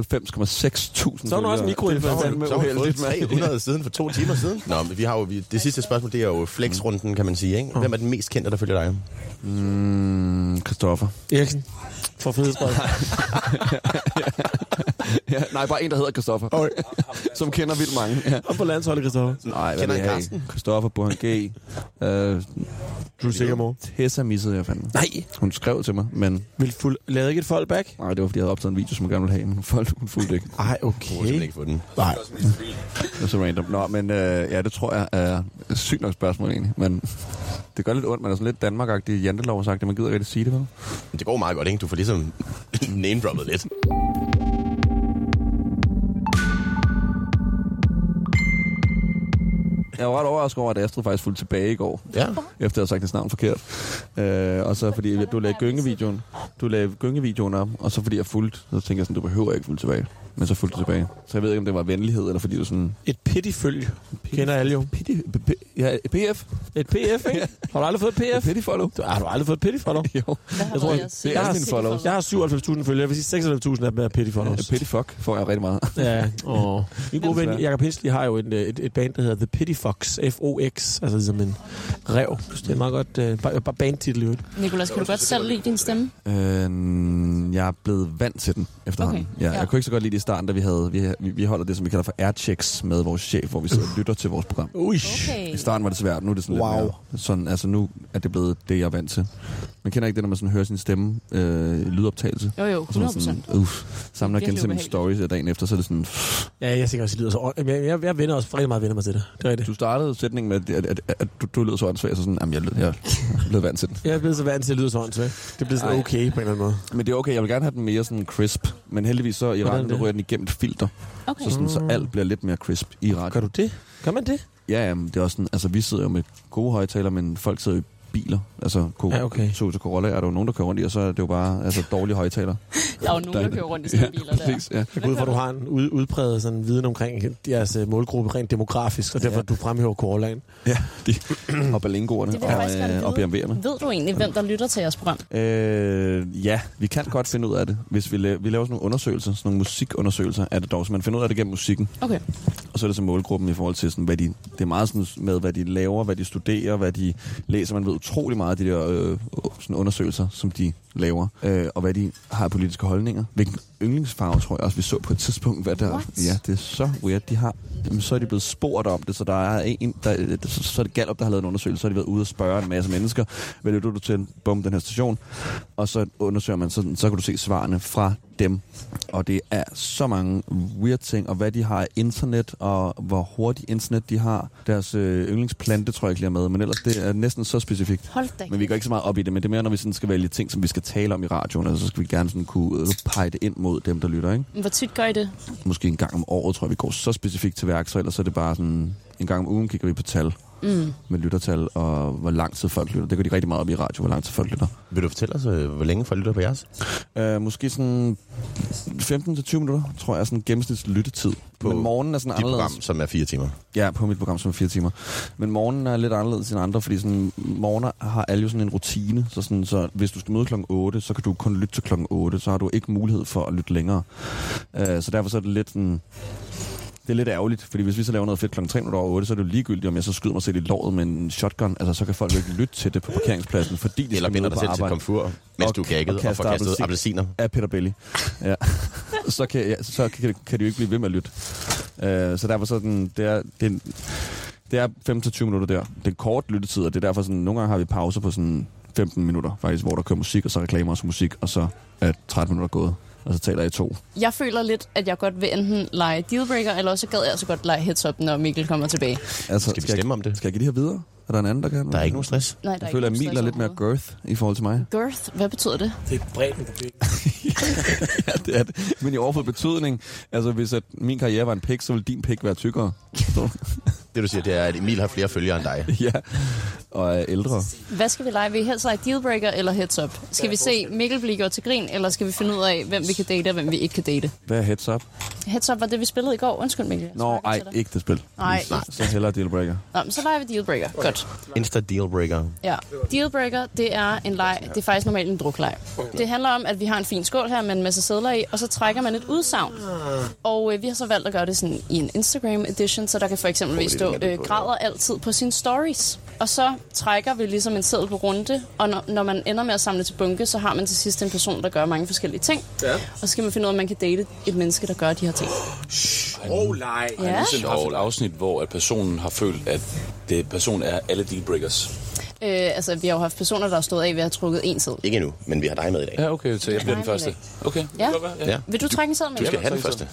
Speaker 2: er hun også mikroinfluencer.
Speaker 3: Så har vi fået 300 siden for to timer siden. Nå, men vi har jo, vi, det sidste spørgsmål, det er jo flexrunden, kan man sige. Ikke? Hvem er den mest kendte, der følger dig?
Speaker 8: Mm, Christoffer.
Speaker 2: Eriksen. For frihedsbrevet.
Speaker 8: ja, nej, bare en, der hedder Christoffer. Okay. som kender vildt mange. Ja.
Speaker 2: Om på landsholdet, Christoffer.
Speaker 8: Nej, hvad
Speaker 3: Kender
Speaker 8: ved
Speaker 3: I
Speaker 8: jeg
Speaker 3: Karsten?
Speaker 8: ikke. Christoffer Burhan G. Øh,
Speaker 2: Du er sikker, mor.
Speaker 8: Tessa missede jeg fandme.
Speaker 2: Nej.
Speaker 8: Hun skrev til mig, men
Speaker 2: Vil fuld... Lade ikke et fallback?
Speaker 8: nej, det var fordi, jeg havde optaget en video, som hun gerne ville have, men hun fulgte, hun fulgte ikke.
Speaker 2: Ej,
Speaker 3: Du har simpelthen
Speaker 2: okay.
Speaker 3: ikke fået den.
Speaker 2: Nej.
Speaker 8: Det var så random. Nå, men øh, ja, det tror jeg er et sygt nok spørgsmål egentlig, men det gør lidt ondt, men er sådan lidt Danmark-agtig jantelov sagt, man gider ikke rigtig sige det, vel?
Speaker 3: Men det går meget godt, ikke? Du får ligesom name-droppet lidt.
Speaker 8: Jeg var ret overrasket over, at Astrid faktisk fulgte tilbage i går.
Speaker 3: Ja.
Speaker 8: efter jeg havde sagt hans navn forkert. Øh, og så fordi du lagde gyngevideoen, du lagde gyngevideoen op, og så fordi jeg fulgte, så tænkte jeg sådan, du behøver ikke fulde tilbage. Men så fulgte du tilbage. Så jeg ved ikke, om det var venlighed, eller fordi du sådan...
Speaker 2: Et pittifylg. Kender alle jo.
Speaker 8: Pity, p- p- ja, PF?
Speaker 2: Et PF, ikke? Har du aldrig fået et PF?
Speaker 8: Pity follow?
Speaker 2: Du, har du aldrig fået et pittifollow?
Speaker 8: Jo.
Speaker 2: Jeg tror, jeg,
Speaker 8: Det er alle mine followers.
Speaker 2: jeg har 97.000 følgere. Jeg vil sige, 96.000 af dem er
Speaker 8: Ja,
Speaker 2: pittifollows.
Speaker 8: Pity Øh, fuck får jeg rigtig meget.
Speaker 2: Ja, og min gode ven
Speaker 8: Desværre.
Speaker 2: Jacob Hensley har jo en, øh, et, et band, der hedder The Pity Fox, F-O-X, altså ligesom en rev. Så Det er en meget godt øh, bare, bare bandtitel, jo.
Speaker 5: Nicolas, kan du godt selv lide din stemme?
Speaker 8: Øh, jeg er blevet vant til den efterhånden.
Speaker 5: Okay,
Speaker 8: Okay. Ja,
Speaker 5: ja.
Speaker 8: jeg kunne ikke så godt lide det i starten, da vi havde... Vi, vi, vi holder det, som vi kalder for airchecks med vores chef, hvor vi sidder og lytter til vores program.
Speaker 2: Ui.
Speaker 5: Okay.
Speaker 8: I starten var det svært, nu er det sådan
Speaker 2: Wow.
Speaker 8: lidt mere, sådan, altså nu er det blevet det, jeg er vant til. Man kender ikke det, når man sådan hører sin stemme øh, i lydoptagelse.
Speaker 5: Jo, jo,
Speaker 8: Og så er man sådan,
Speaker 5: 100%.
Speaker 8: uff, sammen og
Speaker 5: Virkelig
Speaker 8: genser mine
Speaker 5: ubehageligt.
Speaker 8: stories af dagen efter, så er det sådan,
Speaker 2: Ja, jeg er sikkert også, det lyder så ånd- Jamen, jeg, jeg, jeg vender også rigtig meget vender mig til det. Det er rigtigt.
Speaker 8: du startede sætningen med, at, at, at, at du, du lød så åndssvagt, så sådan, jamen, jeg, lød- jeg, jeg blev vant til den.
Speaker 2: Jeg er blevet så vant til at lyde så åndssvagt. Det bliver sådan
Speaker 8: Ej.
Speaker 2: okay på en eller anden måde.
Speaker 8: Men det er okay, jeg vil gerne have den mere sådan crisp, men heldigvis så i
Speaker 2: Hvordan
Speaker 8: radioen, der
Speaker 2: det? Mm.
Speaker 8: rører den igennem et filter,
Speaker 5: Okay.
Speaker 8: så, sådan, så alt bliver lidt mere crisp i radioen.
Speaker 2: Gør du det? Gør man det?
Speaker 8: Ja, jamen, det er også sådan, altså vi sidder jo med gode højtaler, men folk sidder jo i biler. Altså, ko-
Speaker 2: Ja, okay.
Speaker 8: Toyota Corolla er der jo nogen, der kører rundt i, og så er det jo bare altså, dårlige højtaler.
Speaker 5: Der er jo nogen, der kører rundt i sådan nogle biler der.
Speaker 8: præcis, ja.
Speaker 2: Jeg går ud fra, at du har en ud, udpræget sådan viden omkring jeres øh, målgruppe rent demografisk, og derfor
Speaker 8: Ja.
Speaker 2: ja. du fremhæver Corolaen.
Speaker 8: ja, de, og balingoerne
Speaker 5: Det vil jeg faktisk
Speaker 8: og, øh, og
Speaker 5: gerne vide.
Speaker 8: BMW'erne.
Speaker 5: Ved du egentlig, hvem der lytter til jeres program?
Speaker 8: Øh, ja, vi kan godt finde ud af det. Hvis vi, la- vi laver sådan nogle undersøgelser, sådan nogle musikundersøgelser, er det dog, så man finder ud af det gennem musikken.
Speaker 5: Okay.
Speaker 8: Og så er det så målgruppen i forhold til, sådan, hvad de, det er meget sådan med, hvad de laver, hvad de studerer, hvad de læser. Man ved utrolig meget af de der øh, sådan undersøgelser, som de laver, øh, og hvad de har af politiske holdninger. Hvilken yndlingsfarve, tror jeg også, vi så på et tidspunkt. Hvad der,
Speaker 5: What?
Speaker 8: ja, det er så weird. De har, jamen, så er de blevet spurgt om det, så der er en, der, så, så er det Gallup, der har lavet en undersøgelse, så har de været ude og spørge en masse mennesker, hvad lytter du til, bum, den her station, og så undersøger man, sådan, så kan du se svarene fra dem. Og det er så mange weird ting, og hvad de har af internet, og hvor hurtigt internet de har. Deres øh, yndlingsplante, tror jeg ikke lige er med, men ellers det er næsten så specifikt.
Speaker 5: Hold da.
Speaker 8: Men vi går ikke så meget op i det, men det er mere, når vi sådan skal vælge ting, som vi skal tale om i radioen, altså, så skal vi gerne sådan kunne øh, pege det ind mod dem, der lytter. Ikke?
Speaker 5: Hvor tit gør I det?
Speaker 8: Måske en gang om året, tror jeg, vi går så specifikt til værk, så ellers er det bare sådan, en gang om ugen kigger vi på tal
Speaker 5: Mm.
Speaker 8: med lyttertal, og hvor lang tid folk lytter. Det går de rigtig meget op i radio, hvor lang tid folk lytter.
Speaker 3: Vil du fortælle os, øh, hvor længe folk lytter på jeres?
Speaker 8: Uh, måske sådan 15-20 minutter, tror jeg, er sådan gennemsnits lyttetid.
Speaker 3: På
Speaker 8: På Men morgenen er sådan
Speaker 3: Dit program,
Speaker 8: anderledes.
Speaker 3: som er fire timer.
Speaker 8: Ja, på mit program, som er fire timer. Men morgenen er lidt anderledes end andre, fordi sådan, morgener har alle jo sådan en rutine. Så, sådan, så hvis du skal møde klokken 8, så kan du kun lytte Øh, til klokken 8. Så har du ikke mulighed for at lytte længere. Uh, så derfor så er det lidt sådan... Det er lidt ærgerligt, fordi hvis vi så laver noget fedt kl. 3 minutter over 8, så er det jo ligegyldigt, om jeg så skyder mig selv i låret med en shotgun. Altså, så kan folk jo ikke lytte til det på parkeringspladsen, fordi de
Speaker 3: Eller
Speaker 8: skal
Speaker 3: binder
Speaker 8: møde
Speaker 3: dig
Speaker 8: på
Speaker 3: selv til
Speaker 8: arbejde.
Speaker 3: komfur, mens du er gagget og får kastet appelsiner.
Speaker 8: Af Peter Belli. Ja. så kan, ja, så kan, kan de jo ikke blive ved med at lytte. Uh, så derfor så er den, det er, det er, en- det er 5-20 minutter der. Det er kort lyttetid, og det er derfor sådan, nogle gange har vi pauser på sådan 15 minutter, faktisk, hvor der kører musik, og så reklamer og så musik, og så er 13 minutter gået, og så taler jeg i to.
Speaker 5: Jeg føler lidt, at jeg godt vil enten lege dealbreaker, eller også gad jeg så godt lege heads up, når Mikkel kommer tilbage.
Speaker 8: Altså, skal vi stemme
Speaker 3: om det?
Speaker 8: Skal jeg give det her videre? Er der en anden, der kan? Der er
Speaker 3: ikke nogen stress.
Speaker 5: Nej, der er
Speaker 8: jeg
Speaker 5: ikke
Speaker 8: føler, at
Speaker 5: nogen
Speaker 8: Emil
Speaker 5: stress
Speaker 8: er lidt mere girth i forhold til mig.
Speaker 5: Girth, hvad betyder det?
Speaker 2: Det er bredden på pikken.
Speaker 8: ja, det er det. Men i overfor betydning, altså hvis at min karriere var en pik, så ville din pik være tykkere.
Speaker 3: det du siger, det er, at Emil har flere følgere end dig.
Speaker 8: ja, og er ældre.
Speaker 5: Hvad skal vi lege? Vil I helst lege dealbreaker eller heads up? Skal vi se Mikkel blive gjort til grin, eller skal vi finde ud af, hvem vi kan date og hvem vi ikke kan date?
Speaker 8: Hvad er heads up?
Speaker 5: Heads up var det, vi spillede i går. Undskyld, Mikkel. jeg
Speaker 8: Nå,
Speaker 5: sparker
Speaker 8: ej,
Speaker 5: til dig.
Speaker 8: ikke det spil.
Speaker 5: Nej.
Speaker 8: Så hellere dealbreaker.
Speaker 5: Nå, men så leger vi dealbreaker. Godt.
Speaker 3: Insta dealbreaker.
Speaker 5: Ja. Dealbreaker, det er en leg. Det er faktisk normalt en drukleg. Det handler om, at vi har en fin skål her med en masse sædler i, og så trækker man et udsagn. Og øh, vi har så valgt at gøre det sådan i en Instagram edition, så der kan for eksempel stå, øh, græder altid på sine stories. Og så trækker vi ligesom en seddel på runde, og når, når man ender med at samle til bunke, så har man til sidst en person, der gør mange forskellige ting.
Speaker 2: Ja.
Speaker 5: Og så skal man finde ud af, om man kan date et menneske, der gør de her ting.
Speaker 2: Oh, nej.
Speaker 1: Ja. Jeg
Speaker 5: Ja.
Speaker 1: har nogensinde haft et afsnit, hvor at personen har følt, at det person er alle dealbreakers.
Speaker 5: Øh, altså, vi har jo haft personer, der har stået af ved at have trukket en seddel.
Speaker 3: Ikke endnu, men vi har dig med i dag.
Speaker 1: Ja, okay, så jeg bliver den første. Okay.
Speaker 5: Ja.
Speaker 3: Ja.
Speaker 5: Vil du trække en seddel med?
Speaker 3: Du skal have den første.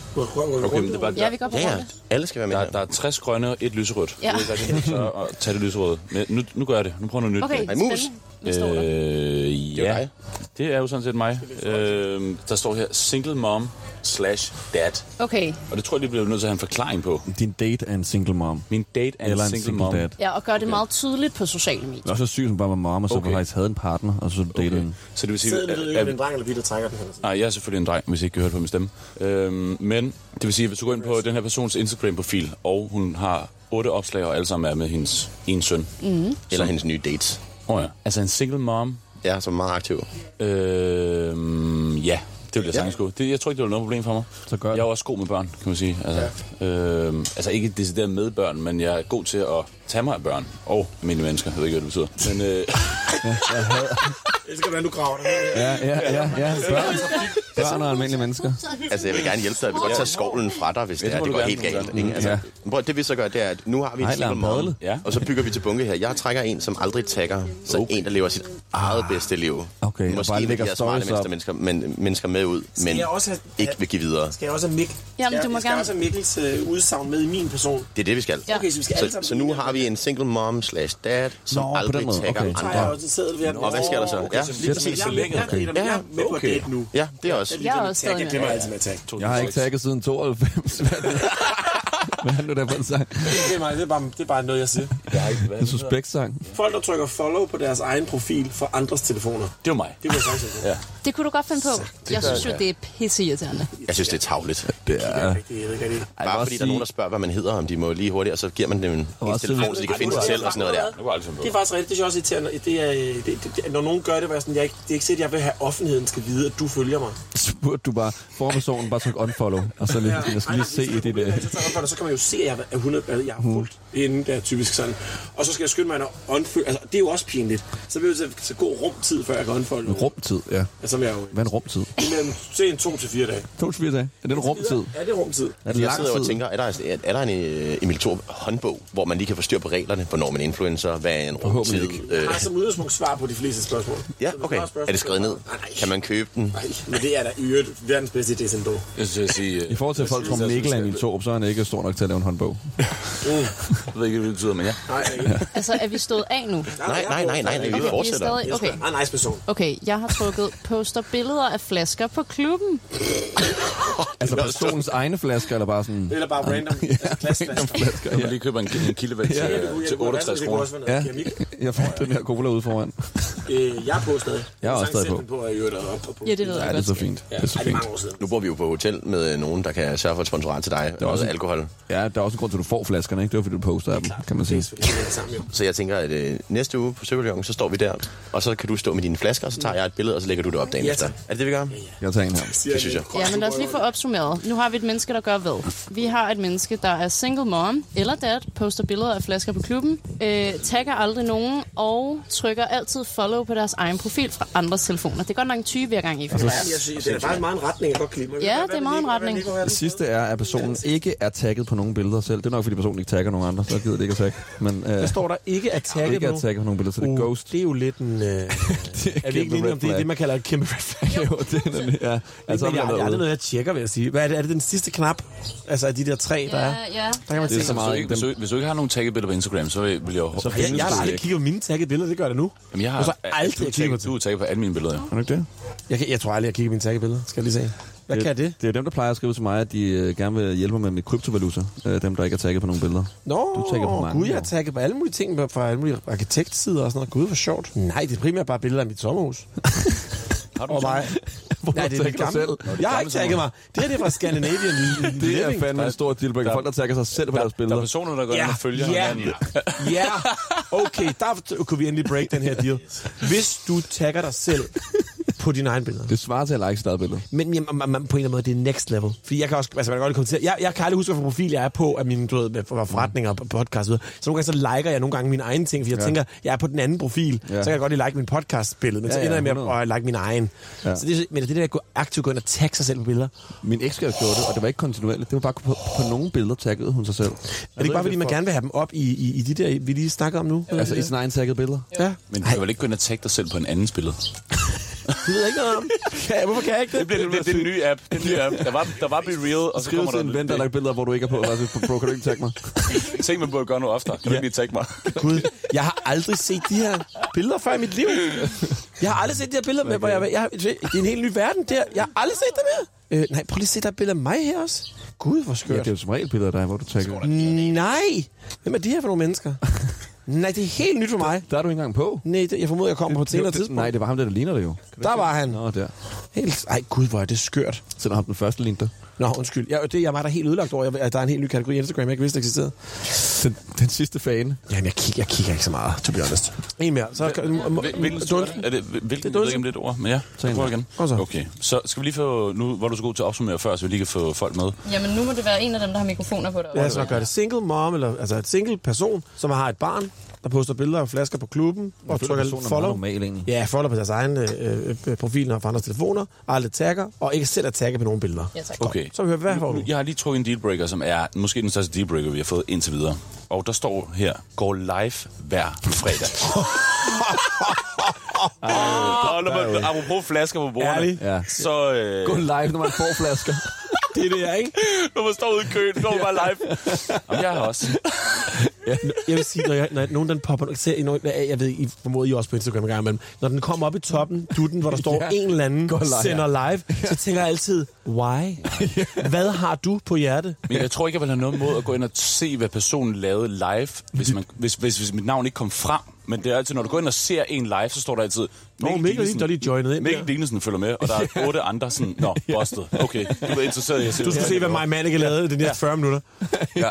Speaker 1: Okay, men det er bare,
Speaker 5: Ja, vi går på
Speaker 3: Ja, ja.
Speaker 5: runde.
Speaker 3: Alle skal være med.
Speaker 1: der, der er 60 grønne og et lyserødt.
Speaker 5: Ja.
Speaker 1: Jeg ved ikke, hvad det er, så at tage det lyserøde. Men nu, nu gør jeg det. Nu prøver jeg noget nyt.
Speaker 5: Okay,
Speaker 1: Ej,
Speaker 5: spændende. Hvad står der?
Speaker 1: Øh,
Speaker 3: Det er
Speaker 1: ja,
Speaker 3: dig.
Speaker 1: det er jo sådan set mig. Øh, der står her, single mom slash dad.
Speaker 5: Okay,
Speaker 1: Og det tror jeg, det bliver vi nødt til at have en forklaring på.
Speaker 8: Din date er en single mom.
Speaker 1: Min date er
Speaker 8: Eller
Speaker 1: en single, mom.
Speaker 8: dad.
Speaker 5: ja, og gør det meget tydeligt på sociale medier.
Speaker 8: Det er også syg, som bare var mom, og så okay. faktisk havde en partner, og så datede okay.
Speaker 1: Så det vil sige,
Speaker 2: Sidder
Speaker 1: at,
Speaker 2: det
Speaker 1: at,
Speaker 2: en dreng eller pige, der trækker den her?
Speaker 1: Nej, jeg er selvfølgelig en dreng, hvis I ikke kan høre det på min stemme. Øhm, men det vil sige, at hvis du går ind på den her persons Instagram-profil, og hun har otte opslag, og alle sammen er med hendes ene søn. Åh
Speaker 3: Eller hendes nye dates.
Speaker 1: oh, ja. Altså en single mom.
Speaker 3: Ja, som er meget aktiv.
Speaker 1: Øhm, ja, det ville jeg sagtens gå. Det, jeg tror ikke, det var noget problem for mig.
Speaker 8: Så gør det.
Speaker 1: jeg er jo også god med børn, kan man sige. Altså, ja. øhm, altså ikke decideret med børn, men jeg er god til at tage mig af børn. Og almindelige mennesker, jeg ved ikke, hvad det betyder. Men, øh,
Speaker 2: Det skal være, du graver dig.
Speaker 8: Ja, ja, ja, ja. Børn, børn og almindelige mennesker.
Speaker 3: Altså, jeg vil gerne hjælpe dig. Jeg vil godt tage skovlen fra dig, hvis det,
Speaker 1: Ja, det
Speaker 3: er,
Speaker 1: må
Speaker 3: det
Speaker 1: du
Speaker 3: går
Speaker 1: gerne,
Speaker 3: helt
Speaker 1: det må du
Speaker 3: galt.
Speaker 1: gerne.
Speaker 3: Ikke? Altså,
Speaker 8: Ja.
Speaker 3: prøv, det vi så gør, det er, at nu har vi en
Speaker 8: Nej, lad
Speaker 3: single
Speaker 8: ham
Speaker 3: mom,
Speaker 8: padle.
Speaker 1: Ja.
Speaker 3: og så bygger vi til bunke her. Jeg trækker en, som aldrig tagger, så okay. en, der lever sit eget bedste liv.
Speaker 8: Okay, og
Speaker 3: Måske
Speaker 8: bare
Speaker 3: en af de
Speaker 8: lægger
Speaker 3: her smarte
Speaker 8: stories op.
Speaker 3: mennesker, mennesker, men, mennesker med ud, men
Speaker 2: jeg også have-
Speaker 3: ikke vil give videre.
Speaker 2: Skal jeg også have Mik?
Speaker 5: Jamen,
Speaker 2: skal,
Speaker 5: du må
Speaker 2: jeg skal
Speaker 5: gerne-
Speaker 2: også have Mikkels øh, udsagn med i min person.
Speaker 3: Det er det, vi skal.
Speaker 5: Ja.
Speaker 2: Okay, så vi skal alle
Speaker 3: Så,
Speaker 2: sammen...
Speaker 3: så nu har vi en single mom slash dad, som
Speaker 8: Nå, på
Speaker 3: aldrig
Speaker 8: den måde.
Speaker 3: tagger
Speaker 8: Okay.
Speaker 2: Så har jeg
Speaker 3: andre.
Speaker 2: også en sædel ved at...
Speaker 3: Og hvad sker der så?
Speaker 2: Okay,
Speaker 3: Ja,
Speaker 1: lige
Speaker 2: Jeg,
Speaker 1: præcis.
Speaker 2: er med, jeg, er med, jeg, er med på at
Speaker 1: Okay.
Speaker 2: date nu.
Speaker 3: ja det er også.
Speaker 5: Jeg er også stadig
Speaker 2: Jeg glemmer altid med at tage.
Speaker 8: Jeg har ikke tagget siden 92. Hvad er det? Hvad er det der for en sang?
Speaker 2: Det er mig, det er bare, det er bare noget, jeg siger.
Speaker 8: En suspekt sang.
Speaker 2: Folk, der trykker follow på deres egen profil for andres telefoner.
Speaker 1: Det var mig.
Speaker 2: Det vil jeg sagtens have.
Speaker 1: Ja.
Speaker 5: Det kunne du godt finde på. Jeg synes jo, det er pisseirriterende.
Speaker 3: Jeg synes, det er tavligt.
Speaker 8: Det er...
Speaker 2: Det er ikke rigtigt.
Speaker 8: Ej, jeg vil
Speaker 3: Bare
Speaker 8: også
Speaker 3: fordi der er nogen, der spørger, hvad man hedder, om de må lige hurtigt, og så giver man dem en, en
Speaker 8: også
Speaker 3: telefon,
Speaker 8: sige-
Speaker 3: så de kan finde sig selv og sådan noget der.
Speaker 1: Det var altid
Speaker 2: Det er faktisk rigtigt. Det synes jeg også irriterende. Det er, øh, det, det, det, når nogen gør det, hvor jeg sådan, jeg, er ikke- det er ikke set, jeg vil have, at offentligheden skal vide, at du følger mig.
Speaker 8: Så burde du bare for personen bare trykke unfollow, og så lige, jeg skal lige se i øh, det der. Mm.
Speaker 2: der. Så kan man jo se, at jeg er 100, eller jeg har fulgt inden, det er typisk sådan. Og så skal jeg skynde mig at unfølge. Altså, det er jo også pinligt. Så vil jeg jo til, til god rumtid, før jeg kan unfolde. nogen.
Speaker 8: Rumtid, ja.
Speaker 2: Altså, som jeg jo
Speaker 8: Hvad er en rumtid?
Speaker 2: imellem, se en to til fire dage.
Speaker 8: To til fire dage. Er det en rumtid?
Speaker 2: Ja, det er rumtid.
Speaker 8: Er det
Speaker 3: Altså, Jeg
Speaker 8: lang
Speaker 3: sidder og
Speaker 8: tid?
Speaker 3: tænker, er der, er der en øh, Emil Thorup håndbog, hvor man lige kan få styr på reglerne, hvornår man er influencer, hvad er en
Speaker 8: Forhåbentlig
Speaker 3: rumtid?
Speaker 8: ikke.
Speaker 3: Øh,
Speaker 2: Jeg har som udgangspunkt svar på de fleste spørgsmål.
Speaker 3: ja,
Speaker 2: Så hvis
Speaker 3: okay.
Speaker 2: du har spørgsmål-
Speaker 3: Er det skrevet ned?
Speaker 2: Nej,
Speaker 3: Kan man købe den?
Speaker 2: nej, men det er da i øvrigt verdens bedste idé, sådan dog.
Speaker 1: Jeg synes, jeg siger,
Speaker 8: I forhold til, at folk tror, Mikkel er Emil Thorup, så er han ikke stor nok til at lave en håndbog.
Speaker 1: Jeg ved ikke, hvad det betyder, men ja.
Speaker 2: Nej,
Speaker 5: Altså, er vi stået af nu?
Speaker 3: Nej, nej, nej, nej, nej, vi
Speaker 5: Okay, vi er
Speaker 3: fortsætter.
Speaker 5: stadig... Okay.
Speaker 2: Nej, Ah, nice person.
Speaker 5: Okay, jeg har trukket poster billeder af flasker på klubben.
Speaker 8: Altså personens egne flasker, eller bare sådan...
Speaker 2: Eller bare random. Altså,
Speaker 8: Random
Speaker 2: klasseflasker.
Speaker 8: flasker,
Speaker 1: Jeg
Speaker 8: ja.
Speaker 1: lige køber en, en kildevægt til,
Speaker 8: øh,
Speaker 2: Ja, det kunne-
Speaker 1: til
Speaker 2: jeg kunne-
Speaker 1: 68
Speaker 2: det kunne
Speaker 1: kroner.
Speaker 2: også være
Speaker 8: Ja,
Speaker 2: noget keramik.
Speaker 8: jeg får den her cola ude foran.
Speaker 2: Øh, jeg er på stadig.
Speaker 8: Jeg er også stadig på.
Speaker 2: på, at jeg er oppe på.
Speaker 5: Ja, det ved jeg
Speaker 8: Ja, det er
Speaker 5: godt.
Speaker 8: så fint. Det er så fint.
Speaker 3: Nu bor vi jo på hotel med øh, nogen, der kan sørge for et sponsorat til dig. Der er også alkohol.
Speaker 8: Ja, der er også en grund til, at du får flaskerne, ikke? Det var, fordi du poster af dem, kan man sige.
Speaker 3: Så jeg tænker, at øh, næste uge på Søberløven, så står vi der, og så kan du stå med dine flasker, og så tager jeg et billede, og så lægger du det op dagen
Speaker 8: Ja,
Speaker 3: efter. Er
Speaker 8: tak.
Speaker 3: det det, vi gør?
Speaker 8: Jeg tager en her.
Speaker 3: Det synes jeg.
Speaker 5: Ja, men lad os lige få opsummeret. Nu har vi et menneske, der gør hvad? Vi har et menneske, der er single mom eller dad, poster billeder af flasker på klubben, øh, tagger aldrig nogen og trykker altid follow på deres egen profil fra andres telefoner. Det er godt nok en type, vi har gang i.
Speaker 2: Altså,
Speaker 5: føler jeg.
Speaker 2: jeg synes, det er faktisk meget en retning, jeg godt kan lide. Men
Speaker 5: Ja,
Speaker 2: hvad-
Speaker 5: det er
Speaker 2: hvad
Speaker 5: meget
Speaker 2: vil
Speaker 5: en
Speaker 2: I- hvad vil I-
Speaker 5: retning.
Speaker 2: hvad vil I-
Speaker 8: Det sidste er, at personen ikke er tagget på nogen billeder selv. Det er nok, fordi personen ikke tagger nogen andre. Så gider det ikke at tagge. Men, øh,
Speaker 2: Der står der ikke at tagge
Speaker 8: Ikke at tagge på nogen billeder, så det er
Speaker 2: Uh,
Speaker 8: ghost.
Speaker 2: Det er jo lidt en... Øh, er vi ikke
Speaker 8: kæmpe
Speaker 2: enige om,
Speaker 8: red
Speaker 2: det er
Speaker 8: flag.
Speaker 2: det, man kalder et kæmpe red flag?
Speaker 8: Jo, det er nemlig, ja.
Speaker 2: Altså,
Speaker 8: har
Speaker 2: men
Speaker 8: vi
Speaker 2: jeg, det
Speaker 8: været
Speaker 2: er
Speaker 8: ude.
Speaker 2: aldrig noget, jeg tjekker, vil jeg sige. Hvad er det, er det den sidste knap? Altså af de der tre, der er?
Speaker 5: ja.
Speaker 2: Der kan man
Speaker 1: Det er så meget, hvis, du,
Speaker 2: ikke.
Speaker 1: ikke- hvis, du, ikke- hvis du ikke har nogen tagget billeder på Instagram, så vil vil jeg... Så
Speaker 2: Jeg, jeg har aldrig kigget på mine taggede billeder, det gør jeg da nu.
Speaker 1: Jamen, jeg har
Speaker 2: Og så aldrig
Speaker 1: du,
Speaker 2: kigget
Speaker 1: tagget, du er tagget på alle mine billeder.
Speaker 8: Er du ikke det?
Speaker 2: Jeg, kan- jeg tror aldrig, jeg kigger på mine taggede billeder, skal jeg lige se. Hvad kan det?
Speaker 8: Det er jo dem, der plejer at skrive til mig, at de øh, gerne vil hjælpe mig med mit kryptovaluta. Øh, dem, der ikke er tagget på nogen billeder.
Speaker 2: Nå,
Speaker 8: Du tagger på mange,
Speaker 2: gud, jeg
Speaker 8: jo.
Speaker 2: har tagget på alle mulige ting på- fra alle mulige arkitektsider og sådan noget. Gud, hvor sjovt. Nej, det er primært bare billeder af mit sommerhus.
Speaker 1: Har du
Speaker 2: Og mig. Nej, det er mit
Speaker 8: tagger dig
Speaker 2: gamle.
Speaker 8: selv? Nå, dit
Speaker 2: Jeg har
Speaker 8: gamle
Speaker 2: ikke tagget mig.
Speaker 8: sommerhus.
Speaker 2: Det her det er fra Scandinavian
Speaker 8: Det er
Speaker 2: Living.
Speaker 8: fandme en stor deal. Der, folk, der tagger sig selv på deres
Speaker 1: Der er
Speaker 8: billeder.
Speaker 1: personer, der går ind og følger
Speaker 2: ja,
Speaker 1: hinanden.
Speaker 2: ja, okay, der kunne vi endelig break den her deal. Hvis du tagger dig selv på dine egne billeder.
Speaker 8: Det svarer til at like sit eget billede.
Speaker 2: Men jamen, man, man, på en eller anden måde, det er next level. Fordi jeg kan også, altså man kan godt kommentere. Jeg, jeg kan aldrig huske, hvilken profil jeg er på af mine du ved, med- fra forretninger og podcast. og Så, videre. så nogle gange så liker jeg nogle gange mine egne ting, fordi jeg ja.
Speaker 8: Ja.
Speaker 2: tænker, jeg er på den anden profil, ja.
Speaker 8: Ja.
Speaker 2: så kan jeg godt lige like min podcastbillede, men ja, så
Speaker 8: Ja,
Speaker 2: ender
Speaker 8: ja,
Speaker 2: jeg med
Speaker 8: 100.
Speaker 2: at øh, like min egen. Ja.
Speaker 8: Ja.
Speaker 2: Så det, er- men det der at gå aktivt gå ind og tagge sig selv på billeder,
Speaker 8: Min ekskæreste gjorde det, og det var ikke kontinuerligt. Det var bare på, på nogle billeder taggede hun sig selv.
Speaker 2: er det ikke bare fordi, man gerne vil have dem op i, i, i de der, vi lige snakker om nu?
Speaker 8: Altså i sin egen taggede billeder.
Speaker 2: ja.
Speaker 1: Men du kan vel ikke gå ind og tagge dig selv på en andens billede?
Speaker 2: Det ved jeg ikke noget om. Ja, hvorfor kan jeg ikke det?
Speaker 1: Det, det, det er en ny app. Det er en ny app. Der var, der var Be Real, og så
Speaker 8: Skriv
Speaker 1: kommer
Speaker 8: til
Speaker 1: der...
Speaker 8: en ven, der har lagt billeder, hvor du ikke er på. Altså, bro, kan du ikke tagge mig?
Speaker 1: Tænk, man burde gøre noget oftere. Kan du ikke lige tagge mig?
Speaker 2: Gud, jeg har aldrig set de her billeder før i mit liv. Jeg har aldrig set de her billeder med, hvor jeg, jeg, det er en helt ny verden der. Jeg har aldrig set dem her. Øh, nej, prøv lige at se, der er et billede af mig her også. Gud, hvor
Speaker 8: Ja,
Speaker 2: skørt.
Speaker 8: det er jo altså. som regel billeder af dig, hvor du tagger.
Speaker 2: Nej, hvem er de her for nogle mennesker? Nej, det er helt nyt for mig.
Speaker 8: Der er du ikke engang på.
Speaker 2: Nej, det, jeg formoder, jeg kommer på et senere
Speaker 8: Det- det-
Speaker 2: tidspunkt.
Speaker 8: Nej, det var ham, der, der ligner det jo.
Speaker 2: Der var han.
Speaker 8: Nå, der.
Speaker 2: Helt, ej, gud, hvor er det skørt.
Speaker 8: Selvom ham den første lignede dig.
Speaker 2: Nå, undskyld. Jeg, det, jeg var der helt ødelagt over, at der er en helt ny kategori i Instagram, jeg ikke vidste eksisterede.
Speaker 8: Den, den sidste fane.
Speaker 2: Jamen, jeg kigger, jeg kigger ikke så meget, to be honest. En mere. Så,
Speaker 1: Hvil- Hvilken
Speaker 2: Dunsen.
Speaker 1: er det? Hvilken, jeg ved
Speaker 2: Dunsen.
Speaker 1: ikke, om det er et ord, men ja. Så
Speaker 8: en
Speaker 1: prøver igen.
Speaker 2: Og så.
Speaker 1: Okay, så skal vi lige få... Nu hvor du er så god til at opsummere før, så vi lige kan få folk med.
Speaker 5: Jamen, nu må det være en af dem, der har mikrofoner på dig.
Speaker 2: Ja, så gør det single mom, eller altså et single person, som har et barn, der poster billeder af flasker på klubben, og
Speaker 8: føler,
Speaker 2: trykker
Speaker 8: personen er
Speaker 2: follow.
Speaker 8: meget normal egentlig.
Speaker 2: Ja, follow på deres egne øh, øh, profiler og fra andres telefoner, aldrig tagger, og ikke selv at tagge på nogen billeder.
Speaker 5: Ja, tak.
Speaker 1: Okay.
Speaker 2: Så hører vi, hvad får du?
Speaker 1: Jeg har lige trukket en dealbreaker, som er måske den største dealbreaker, vi har fået indtil videre. Og der står her, går live hver fredag. Ej, der, der, der, apropos flasker på bordene,
Speaker 2: Ærlig?
Speaker 8: Ja.
Speaker 1: så... Øh,
Speaker 8: Gå live, når man får flasker.
Speaker 2: Det er det, jeg ikke?
Speaker 1: når man står ude i køen, går man bare live. Jamen, jeg har også.
Speaker 2: Jeg vil sige, når, jeg, når nogen den popper, ser, I nogen, jeg ved, I formoder I også på Instagram en gang imellem, når den kommer op i toppen, dutten, hvor der står ja,
Speaker 8: Ja.
Speaker 2: en eller anden,
Speaker 8: Gå live.
Speaker 2: sender live, så tænker jeg altid, why? Hvad har du på hjerte?
Speaker 1: Men jeg tror ikke, jeg vil have noget mod at gå ind og se, hvad personen lavede live, hvis, man, hvis, hvis, hvis mit navn ikke kom frem. Men det er altid, når du går ind og ser en live, så står der altid...
Speaker 2: Mikkel Dinesen, der lige joinede ind
Speaker 1: Mikkel
Speaker 2: der.
Speaker 1: Dinesen følger med, og der er otte andre sådan... Nå, busted. Okay, du er interesseret i at se...
Speaker 2: Du skal se, hvad Maja Mannicke lavede de næste 40 minutter.
Speaker 1: Ja.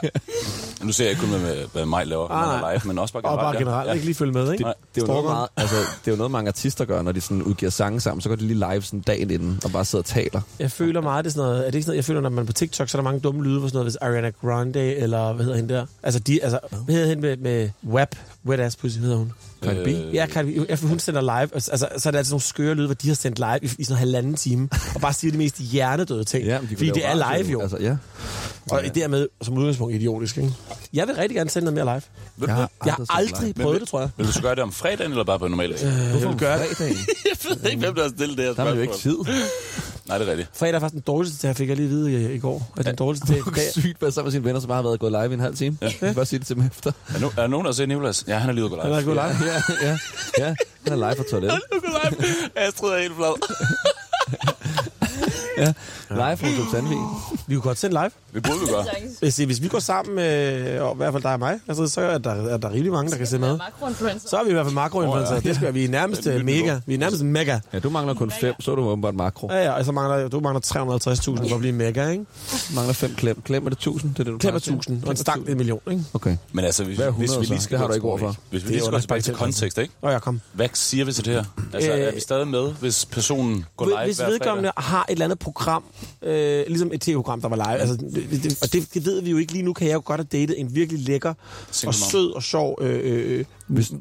Speaker 1: Nu ser jeg ikke kun, hvad, hvad mig laver
Speaker 2: Ah,
Speaker 1: ah,
Speaker 2: nej.
Speaker 1: live, men også bare
Speaker 2: Og
Speaker 1: generelt.
Speaker 2: bare
Speaker 1: ja.
Speaker 2: generelt,
Speaker 1: Ja.
Speaker 2: ikke lige følge med, ikke?
Speaker 1: Nej.
Speaker 8: Det er, jo noget
Speaker 2: Stalkeren.
Speaker 8: meget, altså, det er jo noget, mange artister gør, når de sådan udgiver sange sammen. Så går de lige live sådan dagen inden og bare sidder og taler.
Speaker 2: Jeg føler meget, det er sådan noget, er det ikke sådan noget, jeg føler, når man er på TikTok, så er der mange dumme lyde, hvor sådan noget, hvis Ariana Grande, eller hvad hedder hende der? Altså, de, altså hvad hedder hende med, med WAP? Wet Ass Pussy hedder hun.
Speaker 8: Cardi B?
Speaker 2: Øh. Ja, Cardi B, ja, for hun sender live, altså, så er der altid nogle skøre lyde, hvor de har sendt live i, i sådan en halvanden time, og bare siger de mest hjernedøde ting,
Speaker 8: Ja,
Speaker 2: ja,
Speaker 8: men de kunne
Speaker 2: fordi
Speaker 8: lave
Speaker 2: det er
Speaker 8: radio,
Speaker 2: live jo, altså,
Speaker 8: Altså, ja.
Speaker 2: og dermed som udgangspunkt idiotisk, ikke? Jeg vil rigtig gerne sende noget mere live.
Speaker 1: Ved du
Speaker 8: Jeg
Speaker 1: hvad?
Speaker 8: har
Speaker 2: Jeg har aldrig
Speaker 1: Men
Speaker 2: prøvet
Speaker 1: vil-
Speaker 2: det, tror jeg. Øh,
Speaker 1: Vil du så gøre det om fredagen, eller bare på normalt?
Speaker 8: Hvorfor
Speaker 2: vil gøre det.
Speaker 8: fredagen?
Speaker 1: Jeg ved ikke, hvem der har stillet det her
Speaker 8: Der er man jo ikke
Speaker 1: spørgsmål.
Speaker 8: tid.
Speaker 1: Nej, det er rigtigt.
Speaker 2: Fredag er faktisk den dårligste dag, fik jeg lige at vide øh, i, i går, at den dårligste dag i dag.
Speaker 8: Sygt være sammen med sine venner, som bare har været gået live i en halv time. Ja. Bare sige det til dem efter.
Speaker 1: Er, no- er nogen, der har set Nicolas? Ja, han er lige ude at gå live.
Speaker 2: Han er gået live.
Speaker 8: Ja, ja, ja. Han er live på toilettet.
Speaker 1: Astrid er helt flad.
Speaker 8: Ja. Live fra Club Sandvig.
Speaker 2: Vi kunne godt sende live.
Speaker 1: Det burde vi gøre.
Speaker 2: Hvis, hvis vi går sammen, øh, og i hvert fald dig og mig, altså, så er der, er der rigtig mange, der kan se med. Så er vi i hvert fald makroinfluencer.
Speaker 8: Åh,
Speaker 2: Oh,
Speaker 8: ja.
Speaker 2: ja. Det skal være. Vi er nærmest øh, mega. Vi er nærmest mega.
Speaker 8: Ja, du mangler kun fem, så er du åbenbart makro.
Speaker 2: Ja, ja, altså mangler, du mangler 350.000 for at blive mega, ikke?
Speaker 8: Mangler fem klem. Klem er det 1000, det er det, du
Speaker 2: Klem er
Speaker 8: plejer at sige.
Speaker 2: 1000, og en stang er en million, ikke?
Speaker 8: Okay.
Speaker 1: Men altså, hvis,
Speaker 8: Hvad er
Speaker 1: hvis
Speaker 8: 100
Speaker 1: vi
Speaker 8: så?
Speaker 1: lige skal
Speaker 8: Det har
Speaker 1: gå-
Speaker 8: du ikke ord for.
Speaker 1: Hvis vi
Speaker 8: Det
Speaker 1: lige
Speaker 8: er
Speaker 1: skal gå tilbage til
Speaker 2: underspecielt, altså.
Speaker 1: kontekst, ikke?
Speaker 2: Nå, jeg kom.
Speaker 1: Hvad siger vi til det her? Altså,
Speaker 2: Øh,
Speaker 1: er vi stadig med, hvis personen går live
Speaker 2: Hvis
Speaker 1: hver
Speaker 2: vedkommende har et eller andet program, øh, ligesom et tv-program, der var live, altså, det, det, og det, det ved vi jo ikke lige nu, kan jeg jo godt have datet en virkelig lækker
Speaker 1: Single
Speaker 2: og
Speaker 1: mom.
Speaker 2: sød og sjov øh, øh,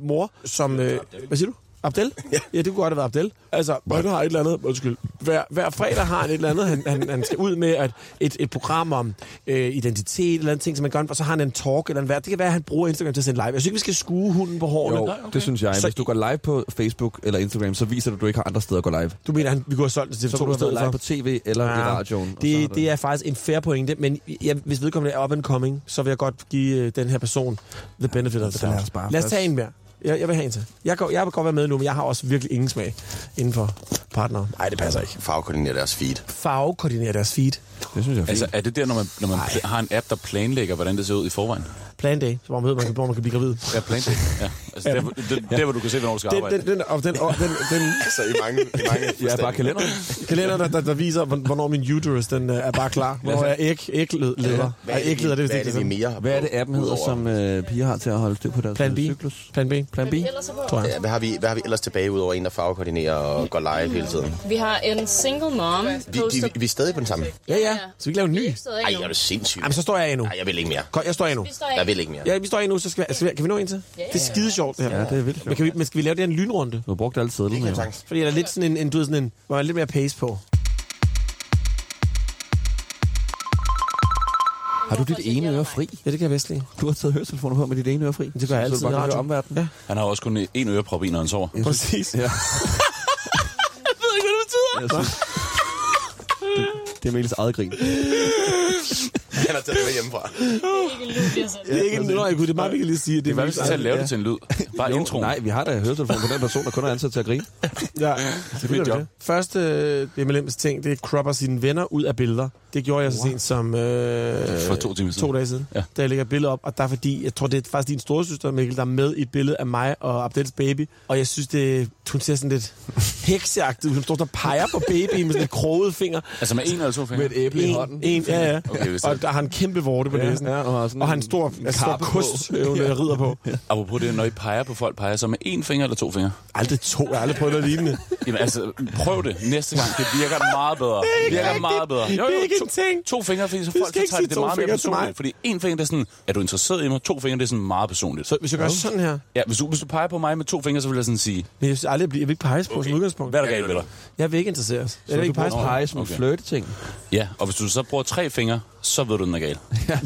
Speaker 2: mor, som... Øh, hvad siger du? Abdel? Ja, det kunne godt have været Abdel. Altså, han har et eller andet, undskyld. Hver, hver fredag har han et eller andet, han, han, han skal ud med at et, et program om øh, identitet, et eller andet ting, som man gør, og så har han en talk eller en hvad. Det kan være, at han bruger Instagram til at sende live. Jeg synes ikke, vi skal skue hunden på hårene.
Speaker 8: Jo, det synes jeg. Hvis du går live på Facebook eller Instagram, så viser du, at du ikke har andre steder at gå live.
Speaker 2: Du mener, han, vi kunne have solgt det til
Speaker 8: Så
Speaker 2: TV2
Speaker 8: kunne
Speaker 2: i
Speaker 8: du have
Speaker 2: stedet for?
Speaker 8: været live på tv eller i radioen, og så er
Speaker 2: Ah. Det,
Speaker 8: det-
Speaker 2: det er faktisk en fair pointe, men jeg, hvis vedkommende er up and coming, så vil jeg godt give øh, den her person the benefit of the
Speaker 8: Så lad os
Speaker 2: doubt.
Speaker 8: bare-
Speaker 2: Lad os
Speaker 8: lad
Speaker 2: tage
Speaker 8: os-
Speaker 2: en mere. Jeg, jeg vil have en til. Jeg, går, jeg vil godt være med nu, men jeg har også virkelig ingen smag inden for partner. Nej, det passer ikke.
Speaker 3: Fagkoordinere deres feed.
Speaker 2: Farvekoordinere deres feed.
Speaker 8: Det synes jeg er fint.
Speaker 1: Altså, er det der, når man, når man pl- har en app, der planlægger, hvordan det ser ud i forvejen?
Speaker 2: Plan day, så hvor man ved, man kan, hvor man kan blive gravid.
Speaker 1: Ja, planlægger. Ja. Altså, der, hvor- der, der, hvor du kan se, hvornår du skal
Speaker 2: Den,
Speaker 1: arbejde.
Speaker 2: den, den, og den, og den, den
Speaker 3: Altså i mange... I mange
Speaker 8: Ja, bare kalenderen.
Speaker 2: kalender, der, der, der viser, hvorn- hvornår min uterus den, øh, er bare klar. Hvornår jeg æg, ægleder.
Speaker 3: Hvad er det, vi-
Speaker 2: det, hvis
Speaker 3: hvad er
Speaker 2: ikke
Speaker 3: det, vi mere har
Speaker 8: Hvad er det,
Speaker 3: på,
Speaker 8: appen hedder,
Speaker 3: udover-
Speaker 8: som øh, piger har til at holde styr på deres
Speaker 2: Plan B.
Speaker 8: øh, cyklus?
Speaker 2: Plan B. Plan B. Tror jeg.
Speaker 3: Ja, hvad har, vi, hvad har vi ellers tilbage, udover en, der farvekoordinerer og går live hele tiden?
Speaker 5: Vi har en single mom
Speaker 3: Vi,
Speaker 5: poster...
Speaker 3: vi, vi er stadig på den samme.
Speaker 2: Ja, ja. Så vi kan lave en ny.
Speaker 3: Ej, jeg er jo sindssyg.
Speaker 2: Jamen, så står jeg af nu.
Speaker 3: Ej, jeg vil ikke mere.
Speaker 2: Godt, jeg står af nu.
Speaker 3: Jeg vil ikke mere.
Speaker 2: Ja, vi står af nu, så skal vi, skal vi, kan vi nå en til? Det er skide sjovt, det her.
Speaker 8: Ja, det er vildt
Speaker 2: Men, kan vi, men skal vi lave det her en lynrunde?
Speaker 8: Du har brugt alle sædlerne.
Speaker 3: Ja,
Speaker 8: jo.
Speaker 3: tak.
Speaker 2: Fordi der er lidt sådan en, en, du ved, sådan en hvor der er lidt mere pace på.
Speaker 8: Har du dit ene øre fri?
Speaker 2: Ja, det kan jeg bedst lide.
Speaker 8: Du har taget høretelefoner på med dit ene øre fri.
Speaker 2: Det gør jeg altid
Speaker 8: Så du
Speaker 2: i
Speaker 8: bare kan høre
Speaker 2: radioen.
Speaker 8: omverdenen. Ja.
Speaker 1: Han har også kun en øreprop i, når han sover.
Speaker 2: Præcis.
Speaker 8: Ja. jeg ved ikke, hvad det betyder. det, det er Mikles eget grin.
Speaker 3: Han har taget det med hjemmefra.
Speaker 2: Det er ikke en nøj, det er meget, vi kan lige sige. at Det
Speaker 1: Hvad hvis vi skal lave det til en lyd? Bare
Speaker 8: Jo,
Speaker 1: introen.
Speaker 8: Nej, vi har da høretelefoner på den person, der kun er ansat til at grine.
Speaker 2: Ja, det
Speaker 1: mit
Speaker 2: er
Speaker 1: job.
Speaker 2: det. Første øh, MLM's ting, det er cropper sine venner ud af billeder. Det gjorde jeg så sent som øh,
Speaker 1: For to timer siden.
Speaker 2: to dage siden,
Speaker 1: Ja.
Speaker 2: ja. da jeg lægger et billede op. Og der er fordi, jeg tror, det er faktisk din storesøster, Mikkel, der er med i et billede af mig og Abdels baby. Og jeg synes, det, hun ser sådan lidt hekseagtig ud. Hun står sådan og peger på babyen med sådan en kroget finger.
Speaker 1: Altså med en eller to fingre?
Speaker 8: æble
Speaker 2: En, en, ja, ja.
Speaker 1: Okay, hvis det-
Speaker 2: og der har en kæmpe vorte på
Speaker 8: Ja,
Speaker 2: næsen.
Speaker 8: ja, og har sådan
Speaker 2: og har
Speaker 8: en-
Speaker 2: en stor,
Speaker 8: en
Speaker 2: en stor
Speaker 8: karp på.
Speaker 2: kost, hun øh, rider på.
Speaker 1: Apropos det, når I peger på folk, peger jeg så med en finger eller to fingre?
Speaker 2: Aldrig to, jeg har aldrig prøvet noget lignende.
Speaker 1: Jamen altså, prøv det næste gang. Det virker meget bedre.
Speaker 2: Det er ikke
Speaker 1: virker
Speaker 2: rigtigt.
Speaker 1: meget bedre.
Speaker 2: Det er ikke
Speaker 1: to,
Speaker 2: en ting.
Speaker 1: To fingre, fordi så
Speaker 2: Du
Speaker 1: folk så
Speaker 2: skal ikke
Speaker 1: tager det,
Speaker 2: sige
Speaker 1: det
Speaker 2: to
Speaker 1: meget mere
Speaker 2: fingre til mig.
Speaker 1: personligt. Fordi en finger, det er sådan, er du interesseret i mig? To fingre, det er sådan meget personligt.
Speaker 2: Så hvis jeg gør sådan her,
Speaker 1: Ja, hvis du, hvis du peger på mig med to fingre, så vil jeg sådan sige,
Speaker 2: men jeg vil aldrig blive, jeg vil ikke peges på som udgangspunkt.
Speaker 1: hvad er der galt ved dig?
Speaker 2: Jeg vil ikke interesseres. Jeg
Speaker 8: Så
Speaker 2: vil
Speaker 8: du
Speaker 2: ikke peges
Speaker 8: bruger
Speaker 2: på.
Speaker 8: pege som okay.
Speaker 1: Okay.
Speaker 8: flirteting.
Speaker 1: Ja, og hvis du så bruger tre fingre, så ved du, den er gal.
Speaker 8: Jeg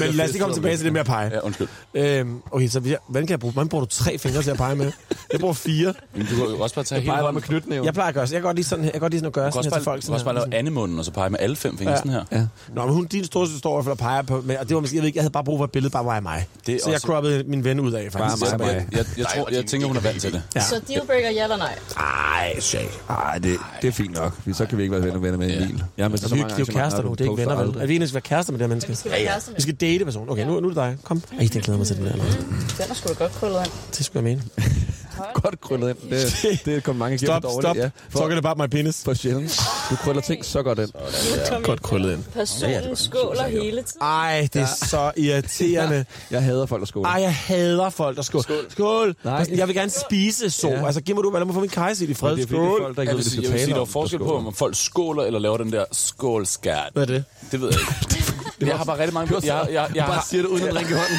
Speaker 2: Men lad os lige komme tilbage til det med at pege.
Speaker 1: Ja, undskyld.
Speaker 2: Øhm, okay, så vi- hvordan kan jeg bruge? Hvordan bruger du tre fingre til at pege med? Jeg bruger fire.
Speaker 1: Men du kan jo også bare tage hele
Speaker 8: Pege bare
Speaker 1: hånden.
Speaker 8: med knytnæven.
Speaker 2: Jeg plejer at gøre sådan. Jeg kan godt lige sådan her. Jeg kan godt lige sådan at gøre
Speaker 1: Du kan
Speaker 2: sådan
Speaker 1: også
Speaker 2: her
Speaker 1: bare,
Speaker 2: til folk.
Speaker 1: du kan også
Speaker 2: Sådan
Speaker 1: bare
Speaker 2: her.
Speaker 1: lave andemunden, og så pege med alle fem fingre
Speaker 2: Ja.
Speaker 1: sådan her.
Speaker 8: Ja.
Speaker 2: Nå, men hun, din storsøster står i hvert fald og peger på, men- og det var måske, jeg ved ikke, jeg havde bare brug for et billede bare mig og mig.
Speaker 1: Det er
Speaker 2: så jeg
Speaker 1: også-
Speaker 2: croppede min ven ud af, faktisk.
Speaker 8: Bare mig og mig.
Speaker 1: Jeg, jeg, jeg, tror, jeg tænker, hun er vant til det.
Speaker 2: Ja.
Speaker 5: Så dealbreaker, ja eller nej?
Speaker 2: Ej, shit.
Speaker 8: Nej, det, det er fint nok. fordi Så kan vi ikke være venner, venner med en bil. Ja, men så
Speaker 2: Det er jo det er jo kærester nu, det er ikke venner, vel? Er vi enige, at være kærester med det her menneske?
Speaker 5: Skal vi kæreste med?
Speaker 2: Vi skal date personen. Okay, nu, nu er det dig. Kom. Ej, den glæder jeg mig til, den der.
Speaker 5: Den er sgu da godt krøllet ind.
Speaker 2: Det skulle jeg mene.
Speaker 8: Godt krøllet ind. Det, det er kun mange igennem
Speaker 2: Stop,
Speaker 8: dårligt.
Speaker 2: stop.
Speaker 8: Ja, for,
Speaker 2: Talking about my penis.
Speaker 8: for sjældent. Du krøller ting så godt ind.
Speaker 2: Godt krøllet ind.
Speaker 5: Personen skåler hele tiden.
Speaker 2: Ej, det er så irriterende.
Speaker 8: Jeg hader folk, der skåler.
Speaker 2: Ej, jeg hader folk, der skål. Skål. skål. Altså,
Speaker 8: Nej.
Speaker 2: Jeg vil gerne spise så.
Speaker 8: Ja.
Speaker 2: Ja. Altså, giv mig du, lad mig få min kajse i fred.
Speaker 8: det er fordi, det er
Speaker 2: Skål.
Speaker 8: folk, der ikke
Speaker 1: Jeg vil,
Speaker 8: ved, hvad de
Speaker 1: sige,
Speaker 8: skal
Speaker 1: jeg vil sige,
Speaker 8: tale
Speaker 1: der
Speaker 8: om.
Speaker 1: er forskel på, om folk skåler eller laver den der skålskat.
Speaker 2: Hvad er det?
Speaker 1: Det ved jeg ikke. Men jeg har bare rigtig mange... Jeg, jeg, jeg, jeg,
Speaker 8: Bare
Speaker 1: har-
Speaker 8: siger det uden at drikke i hånden.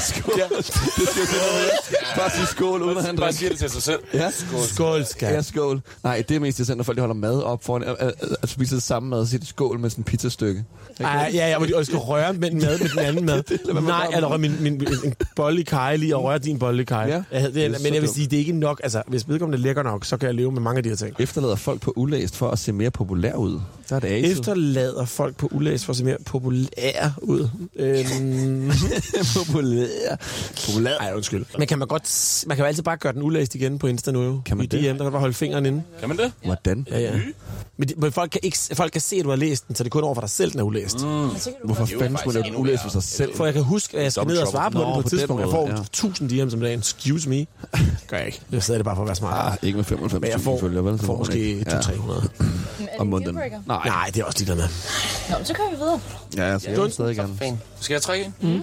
Speaker 8: skål.
Speaker 1: Ja.
Speaker 8: Det skal jeg sige noget mere. Bare sige skål uden at han
Speaker 1: bare
Speaker 8: drikker.
Speaker 1: siger det til sig selv.
Speaker 8: Ja.
Speaker 2: Skål,
Speaker 8: Ja,
Speaker 2: skat.
Speaker 8: skål. Nej, det er mest interessant, når folk de holder mad op foran, at, at, at spise det samme mad, og siger de skål med sådan en pizzastykke.
Speaker 2: Ej, ja, ja, hvor de også skal røre med den mad med den anden mad. Nej, eller røre min, min, min en bolle i kaj lige, og røre din bolle i kaj.
Speaker 8: Ja.
Speaker 2: Ja. Det,
Speaker 8: Det er så
Speaker 2: men jeg vil
Speaker 8: dumt.
Speaker 2: sige, det er ikke nok. Altså, hvis vedkommende er lækker nok, så kan jeg leve med mange af de her ting.
Speaker 8: Efterlader folk på ulæst for at se mere populær ud. der er det aset.
Speaker 2: Efterlader folk på ulæs for at se mere populære ud. Øhm. populære. Populære. Ej, undskyld. Men kan man, godt, man kan jo altid bare gøre den ulæst igen på Insta nu jo. Kan man I det? DM, der kan bare holde fingeren inde.
Speaker 1: Kan man det?
Speaker 8: Hvordan?
Speaker 2: Ja, ja. Men, de, men folk, kan ikke, folk kan se, at du har læst den, så det er kun over for dig selv, den er ulæst. Mm.
Speaker 8: Hvorfor fanden skulle man lave den ulæst for sig selv?
Speaker 2: For jeg kan huske, at jeg skal
Speaker 8: Double
Speaker 2: ned og svare på
Speaker 8: trouble.
Speaker 2: det på
Speaker 8: Nå,
Speaker 2: et
Speaker 8: på
Speaker 2: tidspunkt.
Speaker 8: den
Speaker 2: Jeg får 1000
Speaker 8: måde, ja.
Speaker 2: DM's om dagen. Excuse me. Gør jeg ikke. Jeg sidder det bare for at være smart.
Speaker 8: Ah, ikke med
Speaker 2: Men jeg
Speaker 8: 95.000
Speaker 2: får,
Speaker 8: følgere, vel?
Speaker 2: jeg
Speaker 8: Så
Speaker 2: får
Speaker 8: må man
Speaker 2: måske
Speaker 8: ikke.
Speaker 2: 200-300.
Speaker 8: Ja. Om måneden.
Speaker 2: Nej. Nej, det er også ligeglad med.
Speaker 5: Nå, så kører vi videre.
Speaker 8: Ja, altså, jeg vil stadig gerne.
Speaker 1: Skal jeg trække ind? Mm.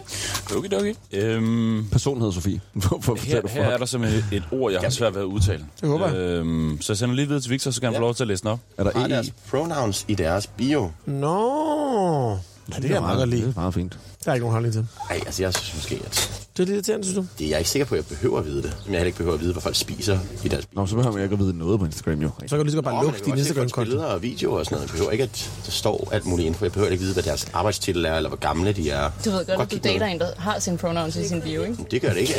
Speaker 1: Okay, okay. Øhm,
Speaker 8: Personen hedder Sofie. Hvorfor fortæller
Speaker 1: her,
Speaker 8: du
Speaker 1: her er der simpelthen et, et ord, jeg har svært ved at udtale.
Speaker 2: Det håber jeg.
Speaker 1: Øhm, så jeg sender lige videre til Victor, så kan han få lov til at læse den op.
Speaker 8: Er der
Speaker 3: Har
Speaker 8: E i?
Speaker 3: deres pronouns i deres bio?
Speaker 2: Nå. Ja, det er jeg meget godt
Speaker 8: Det
Speaker 2: lide.
Speaker 8: er meget fint.
Speaker 2: Der er ikke nogen holdning til.
Speaker 3: Nej, altså jeg synes måske, at
Speaker 2: Det er lidt irriterende, synes du?
Speaker 3: det, jeg er ikke sikker på, at jeg behøver at vide det. Men jeg heller ikke behøver at vide, hvad folk spiser i deres bio.
Speaker 8: Nå, så behøver man ikke at vide noget på Instagram, jo.
Speaker 2: Så kan du lige så godt bare
Speaker 3: Åh, men
Speaker 2: lukke
Speaker 3: jeg kan
Speaker 2: din
Speaker 3: godt se folks
Speaker 2: Instagram-konto.
Speaker 3: billeder og videoer og sådan noget. Jeg behøver ikke, at der står alt muligt info. Jeg behøver ikke vide, hvad deres arbejdstitel er, eller hvor gamle de er.
Speaker 5: Du ved godt, at du
Speaker 3: kigge
Speaker 5: dater
Speaker 3: noget.
Speaker 5: en, der har sin pronouns i sin bio, ikke?
Speaker 3: Det gør det ikke.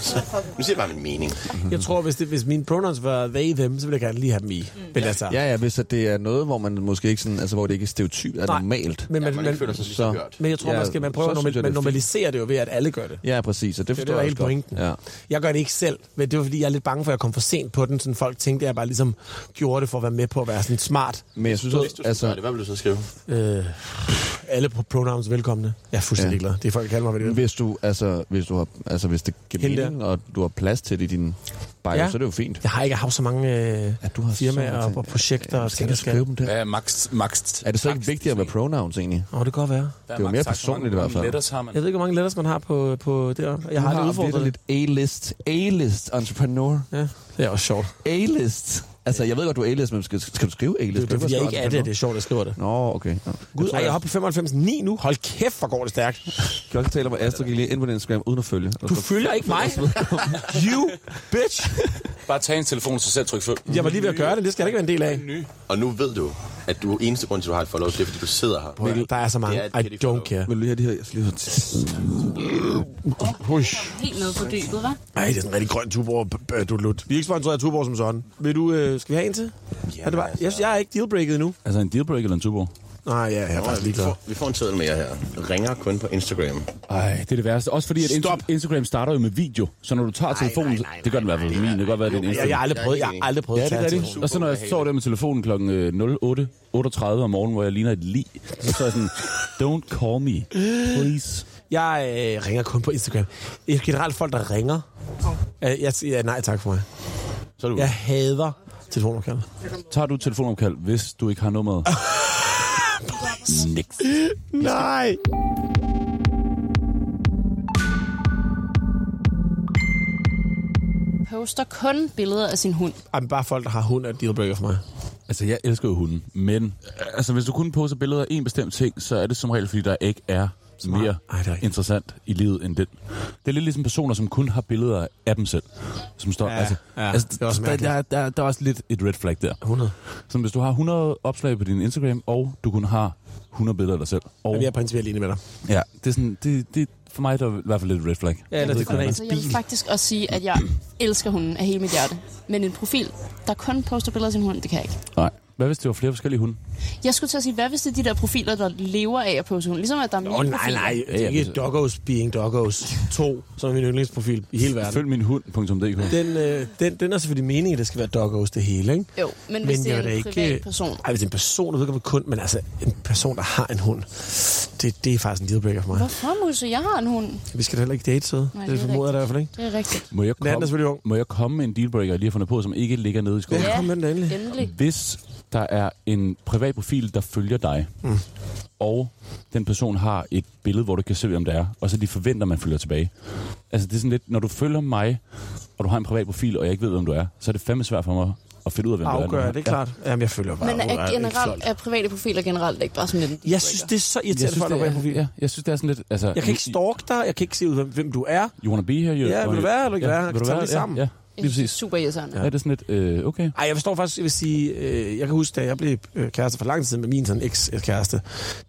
Speaker 3: Så, nu siger jeg bare min mening.
Speaker 2: Jeg tror, hvis, det, hvis mine pronouns var they, them, så ville jeg gerne lige have dem i. Men altså,
Speaker 8: Ja, ja, hvis at det er noget, hvor man måske ikke sådan, altså hvor det ikke er stereotyp, er
Speaker 2: Nej.
Speaker 8: normalt.
Speaker 2: men,
Speaker 3: Man,
Speaker 2: man,
Speaker 3: man,
Speaker 2: men,
Speaker 3: ikke føler sig lige
Speaker 8: så-
Speaker 3: så hørt.
Speaker 2: men jeg tror,
Speaker 8: Ja,
Speaker 2: man, skal, man
Speaker 8: så
Speaker 2: prøver at
Speaker 8: synes
Speaker 2: normal,
Speaker 8: jeg, det
Speaker 2: man
Speaker 8: er fint.
Speaker 2: normaliserer det jo ved, at alle gør det.
Speaker 8: Ja, præcis, og det
Speaker 2: Det er
Speaker 8: forstår
Speaker 2: det, der er
Speaker 8: jeg
Speaker 2: hele
Speaker 8: også
Speaker 2: pointen.
Speaker 8: godt. Ja.
Speaker 2: Jeg gør det ikke selv, men det var, fordi jeg er lidt bange for, at jeg kom for sent på den. Sådan folk tænkte, at jeg bare ligesom gjorde det for at være med på at være sådan smart.
Speaker 8: Men jeg synes
Speaker 3: Hvis
Speaker 8: også,
Speaker 3: du altså,
Speaker 8: altså,
Speaker 3: det, hvad vil du så skrive?
Speaker 2: Øh, alle pro- pronouns velkomne. Jeg er fuldstændig
Speaker 8: Ja.
Speaker 2: ja. glad. Det er folk, der kalder mig, hvad det er.
Speaker 8: hvis du, altså, hvis du har, altså, hvis det giver
Speaker 2: Hende der.
Speaker 8: mening, og du har plads til det i din bio,
Speaker 2: Ja.
Speaker 8: så er det jo fint.
Speaker 2: Jeg har ikke haft så mange øh,
Speaker 8: At du har så
Speaker 2: firmaer
Speaker 8: mange
Speaker 2: og,
Speaker 8: ting.
Speaker 2: og projekter og ting,
Speaker 8: Skal
Speaker 2: der
Speaker 8: du
Speaker 2: skal.
Speaker 8: skrive dem der?
Speaker 1: Hvad er max? max
Speaker 8: Er det så ikke vigtigt at være pronouns egentlig?
Speaker 2: Åh, oh, det kan godt være.
Speaker 8: Det er jo mere personligt i hvert fald.
Speaker 1: Letters har man.
Speaker 2: Jeg ved ikke, hvor mange letters man har på, på det Jeg
Speaker 8: Du
Speaker 2: har aldrig udfordret det.
Speaker 8: vitterligt A-list. A-list entrepreneur.
Speaker 2: Ja, det er også sjovt.
Speaker 8: A-list. Altså, jeg ved godt, du er A-list, men skal, skal du skrive A-list?
Speaker 2: Det, det er, fordi jeg ikke er det, at det
Speaker 8: det.
Speaker 2: er sjovt, at jeg skriver det.
Speaker 8: Nå, okay. Nå.
Speaker 2: Gud,
Speaker 8: tror,
Speaker 2: ej, jeg er oppe i 95,9 nu. Hold kæft, hvor går det stærkt.
Speaker 8: Kan også tale om, at Astrid gik lige ind på din Instagram uden at følge.
Speaker 2: Du følger ikke mig. You bitch.
Speaker 1: Bare tag en telefon, så selv tryk følg.
Speaker 2: Jeg var lige ved at gøre det. Det skal jeg ikke være en del af.
Speaker 3: Og nu ved du, at du eneste grund til, at du har et follow, det er, fordi du sidder her.
Speaker 2: Mikkel, der er så mange.
Speaker 3: Det er et
Speaker 2: I
Speaker 3: pity
Speaker 2: don't care.
Speaker 8: Vil du lige have de her? Jeg skal lige
Speaker 5: Helt nede på dybet, hva'?
Speaker 2: Ej, det er sådan en rigtig grøn tuborg, b- b- du lut. Vi er ikke sponsoreret af tuborg som sådan. Vil du, øh, skal vi have en til? Ja, er det bare? Jeg, jeg er ikke dealbreaket endnu.
Speaker 1: Altså en dealbreaker eller en tubo?
Speaker 2: Nej, ja, jeg er faktisk
Speaker 3: Vi
Speaker 2: ligeglad.
Speaker 3: får, vi får en tædel med jer her. Ringer kun på Instagram.
Speaker 1: Nej, det er det værste. Også fordi, at Inst-
Speaker 3: Stop.
Speaker 1: Instagram starter jo med video. Så når du tager telefonen... det gør den i hvert fald på min. Det kan godt være, at det er en
Speaker 2: Jeg, jeg
Speaker 1: Instagram.
Speaker 2: har aldrig prøvet, jeg har aldrig prøvet
Speaker 1: Ja,
Speaker 2: at
Speaker 1: det
Speaker 2: tage
Speaker 1: er
Speaker 2: til.
Speaker 1: det. Og så når jeg står der med telefonen øh, kl. 08.38 om morgenen, hvor jeg ligner et lig, så står jeg sådan, don't call me, please.
Speaker 2: Jeg øh, ringer kun på Instagram. Det er generelt folk, der ringer. Øh, jeg siger nej tak for mig.
Speaker 1: Så er du
Speaker 2: Jeg hader telefonopkald.
Speaker 1: Tager du et telefonopkald, hvis du ikke har nummeret? Niks.
Speaker 2: Nej!
Speaker 5: Poster kun billeder af sin hund.
Speaker 2: Ej, men bare folk, der har hund, er et dealbreaker for mig.
Speaker 1: Altså, jeg elsker jo hunden, men altså, hvis du kun poster billeder af en bestemt ting, så er det som regel, fordi der ikke er mere
Speaker 2: Ej, det er rigtigt.
Speaker 1: interessant i livet end den. Det er lidt ligesom personer, som kun har billeder af dem selv, som står...
Speaker 2: Ja,
Speaker 1: altså,
Speaker 2: ja,
Speaker 1: altså,
Speaker 2: det er også
Speaker 1: der,
Speaker 2: mærkeligt.
Speaker 1: der, der, der er også lidt et red flag der.
Speaker 2: 100.
Speaker 1: Så hvis du har 100 opslag på din Instagram, og du kun har 100 billeder af dig selv, og
Speaker 2: Jamen, jeg er principielt enig med dig.
Speaker 1: ja, det er sådan, det, det, for mig der er det i hvert fald lidt red flag.
Speaker 2: Ja, eller det kun er ens
Speaker 5: Så jeg vil
Speaker 2: bil.
Speaker 5: faktisk også sige, at jeg elsker hunden af hele mit hjerte. Men en profil, der kun poster billeder af sin hund, det kan jeg ikke.
Speaker 1: Nej. Hvad hvis det var flere forskellige hunde?
Speaker 5: Jeg skulle til at sige, hvad hvis det er de der profiler, der lever af at poste hund? Ligesom at der er
Speaker 2: Åh, oh, nej, nej. Det er ikke Doggos being Doggos 2, som er min yndlingsprofil i hele verden.
Speaker 1: Følg min hund.dk.
Speaker 2: Den, øh, den, den er selvfølgelig meningen, at det skal være doggos det hele, ikke?
Speaker 5: Jo, men hvis det er
Speaker 2: jeg vil
Speaker 5: en
Speaker 2: da
Speaker 5: privat person.
Speaker 2: Ej, hvis det er en person, der vedkommer kun, men altså en person, der har en hund, det, det er faktisk en dealbreaker for mig.
Speaker 5: Hvorfor, Musse? Jeg har en hund.
Speaker 2: Vi skal da heller ikke date, så
Speaker 5: Nej,
Speaker 2: det,
Speaker 5: det er
Speaker 2: formoder jeg i hvert fald ikke.
Speaker 5: Det er rigtigt.
Speaker 1: Må jeg
Speaker 2: Natten er
Speaker 1: komme,
Speaker 2: selvfølgelig ung.
Speaker 1: må jeg komme med en dealbreaker, jeg lige har fundet på, som ikke ligger nede i skoven?
Speaker 2: Ja, kom med den endelig.
Speaker 5: Endelig.
Speaker 1: Hvis der er en privat profil, der følger dig, mm. og den person har et billede, hvor du kan se, hvem det er, og så de forventer, man følger tilbage. Altså det er sådan lidt, når du følger mig, og du har en privat profil, og jeg ikke ved, hvem du er, så er det fandme svært for mig at finde ud af, hvem du er.
Speaker 2: Afgør, det er klart. Jamen, jeg følger bare. Hun
Speaker 5: Men er,
Speaker 2: ikke
Speaker 5: generelt,
Speaker 2: solgt.
Speaker 5: er private profiler generelt ikke bare sådan lidt...
Speaker 2: Jeg synes, det er så
Speaker 1: Jeg
Speaker 2: irriterende
Speaker 1: synes,
Speaker 2: for dig,
Speaker 1: det
Speaker 2: jeg,
Speaker 1: er, ja, jeg synes, det er sådan lidt... Altså,
Speaker 2: jeg kan ikke stalke dig, jeg kan ikke se ud, hvem, hvem du er.
Speaker 1: You wanna be here? You,
Speaker 2: Ja, vil du være, eller ikke
Speaker 1: ja,
Speaker 2: være?
Speaker 1: Vil du
Speaker 2: Tag
Speaker 1: være?
Speaker 2: lige sammen.
Speaker 1: Ja, ja.
Speaker 2: lige præcis.
Speaker 5: Super irriterende.
Speaker 1: Ja. Er det sådan lidt, øh, okay?
Speaker 2: Ej, jeg forstår faktisk, jeg vil sige, øh, jeg kan huske, da jeg blev øh, kæreste for lang tid siden med min sådan eks-kæreste,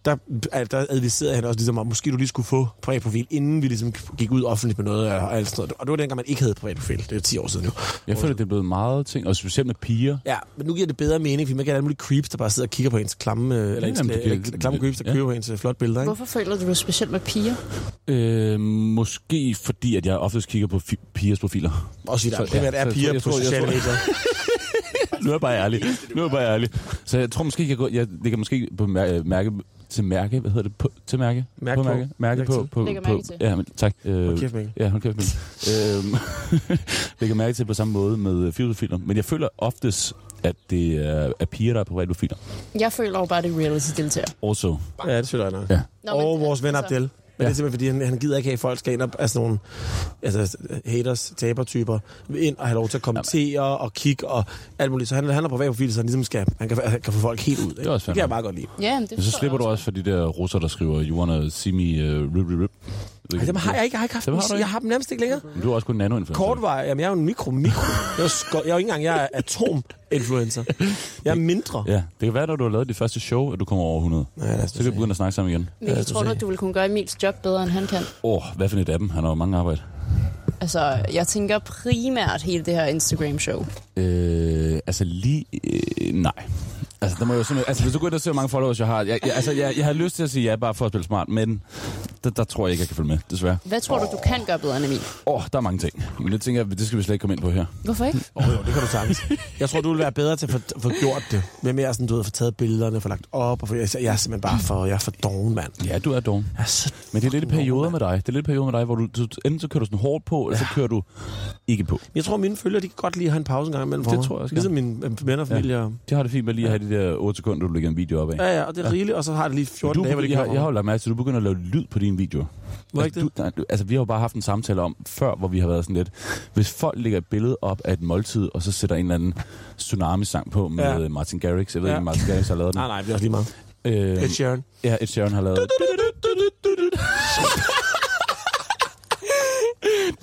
Speaker 2: der, øh, der adviserede han også ligesom, at måske du lige skulle få privat profil, inden vi ligesom gik ud offentligt med noget og, og alt sådan noget. Og det var dengang, man ikke havde privat profil. Det er 10 år siden nu.
Speaker 1: Jeg føler, det er blevet meget ting, og specielt med piger.
Speaker 2: Ja, men nu giver det bedre mening, fordi man kan have alle mulige creeps, der bare sidder og kigger på ens klamme, øh, eller, ens,
Speaker 1: Jamen, det giver-
Speaker 2: eller klamme creeps, der
Speaker 1: ja.
Speaker 2: ja. køber ens øh, flotte billeder. Ikke?
Speaker 5: Hvorfor føler du dig specielt med piger?
Speaker 1: Øh, måske fordi, at jeg oftest kigger på fi- pigers profiler.
Speaker 2: Også i dag.
Speaker 1: Så-
Speaker 2: Primært
Speaker 1: så
Speaker 2: er
Speaker 1: jeg
Speaker 2: piger
Speaker 1: tror- jeg
Speaker 2: på
Speaker 1: tror- jeg
Speaker 2: sociale
Speaker 1: tror-
Speaker 2: medier.
Speaker 1: nu er jeg bare ærlig. Nu er jeg bare ærlig. Så jeg tror måske, jeg, går, jeg lægger måske på mærke, mærke til mærke, hvad hedder det, på, til mærke?
Speaker 2: Mærke
Speaker 1: på.
Speaker 2: på.
Speaker 1: Mærke, mærke
Speaker 2: Læg
Speaker 1: på,
Speaker 2: til.
Speaker 1: på,
Speaker 5: Lægger
Speaker 1: på,
Speaker 5: mærke til.
Speaker 1: Ja, men, tak. Øh,
Speaker 2: Hold kæft, Mikkel.
Speaker 1: Ja, hold kæft, Mikkel. øhm, lægger mærke til på samme måde med fyrprofiler. Men jeg føler oftest, at det er, er piger, der er på profiler.
Speaker 5: Jeg føler jo bare, det er reality-deltager.
Speaker 1: Also.
Speaker 2: Ja, det føler jeg nok.
Speaker 1: Ja.
Speaker 5: Nå,
Speaker 2: og
Speaker 5: men-
Speaker 2: vores ven
Speaker 5: altså-
Speaker 2: Abdel. Men ja. det er simpelthen, fordi han, han gider ikke have, at folk skal ind og altså nogle altså, haters, tabertyper, ind og have lov til at kommentere Jamen. og kigge og alt muligt. Så han, han er privat profil, så han ligesom skal, han kan, han kan få folk helt ud. Ikke? Det,
Speaker 1: også fair
Speaker 2: det kan
Speaker 1: nok.
Speaker 2: jeg bare godt lide.
Speaker 5: Ja, men det
Speaker 1: Men så
Speaker 5: forstår
Speaker 1: slipper
Speaker 5: jeg
Speaker 1: du også for de der russer, der skriver, you wanna see me uh, rip, rip, rip.
Speaker 2: Ej, dem har jeg ikke, jeg har ikke haft
Speaker 1: Dem
Speaker 2: dem
Speaker 1: har du ikke?
Speaker 2: Jeg har dem nærmest ikke længere.
Speaker 1: Men Du er også kun nano-influencer.
Speaker 2: Kort var, jamen jeg er jo en mikro, mikro. Jeg er jo, sko- jeg er jo ikke engang, jeg er atom-influencer. Jeg er mindre.
Speaker 1: Ja, det kan være, når du har lavet dit første show, at du kommer over 100.
Speaker 2: Ja, lad os
Speaker 1: så kan vi begynde at snakke sammen igen.
Speaker 5: Men jeg tror du, at du vil kunne gøre Emils job bedre, end han kan?
Speaker 1: Åh, oh, hvad for et af dem? Han har jo mange arbejde.
Speaker 5: Altså, jeg tænker primært hele det her Instagram-show.
Speaker 1: Øh, altså lige... Øh, nej. Altså, der må jo sådan, altså, hvis du går ind og ser, hvor mange followers jeg har... Jeg, jeg, altså, jeg, jeg har lyst til at sige ja, bare for at spille smart, men der, der tror jeg ikke, jeg kan følge med, desværre.
Speaker 5: Hvad tror du, du kan gøre bedre end Emil?
Speaker 1: Åh, oh, der er mange ting. Men det tænker jeg, det skal vi slet ikke komme ind på her.
Speaker 5: Hvorfor ikke?
Speaker 2: Åh, oh, jo, det kan du sagtens. Jeg tror, du vil være bedre til at få, få gjort det. Med mere sådan, du ved, at få taget billederne, få lagt op. Og få, jeg, jeg er simpelthen bare for, jeg er for doven, mand.
Speaker 1: Ja, du er dog.
Speaker 2: Jeg er så
Speaker 1: Men det er lidt i perioder med dig. Det er lidt i perioder med dig, hvor du, du enten så kører du sådan hårdt på, eller så kører du ikke på.
Speaker 2: Jeg tror, mine følgere, de kan godt lige have en pause en gang imellem for
Speaker 1: Det
Speaker 2: mig.
Speaker 1: tror jeg også
Speaker 2: Ligesom mine øh, venner og familie. Ja.
Speaker 1: De har det fint med lige at have de der 8 sekunder, du lægger en video op af.
Speaker 2: ja, ja, og det er rigeligt, og så har det lige 14
Speaker 1: Du,
Speaker 2: dage, hvor det
Speaker 1: jeg,
Speaker 2: kører
Speaker 1: jeg har
Speaker 2: over.
Speaker 1: jo lagt mærke til, at du begynder at lave lyd på dine videoer.
Speaker 2: Må jeg
Speaker 1: altså,
Speaker 2: ikke det?
Speaker 1: Du, nej, du, altså, vi har jo bare haft en samtale om, før, hvor vi har været sådan lidt, hvis folk lægger et billede op af et måltid, og så sætter en eller anden tsunami-sang på med
Speaker 2: Ja.
Speaker 1: ja. Martin Garrix. Jeg ved
Speaker 2: Ja.
Speaker 1: ikke, om Martin Garrix har lavet den.
Speaker 2: Nej, nej, det er også lige meget.
Speaker 1: Øhm,
Speaker 2: Ed Sheeran.
Speaker 1: ja, Ed Sheeran har lavet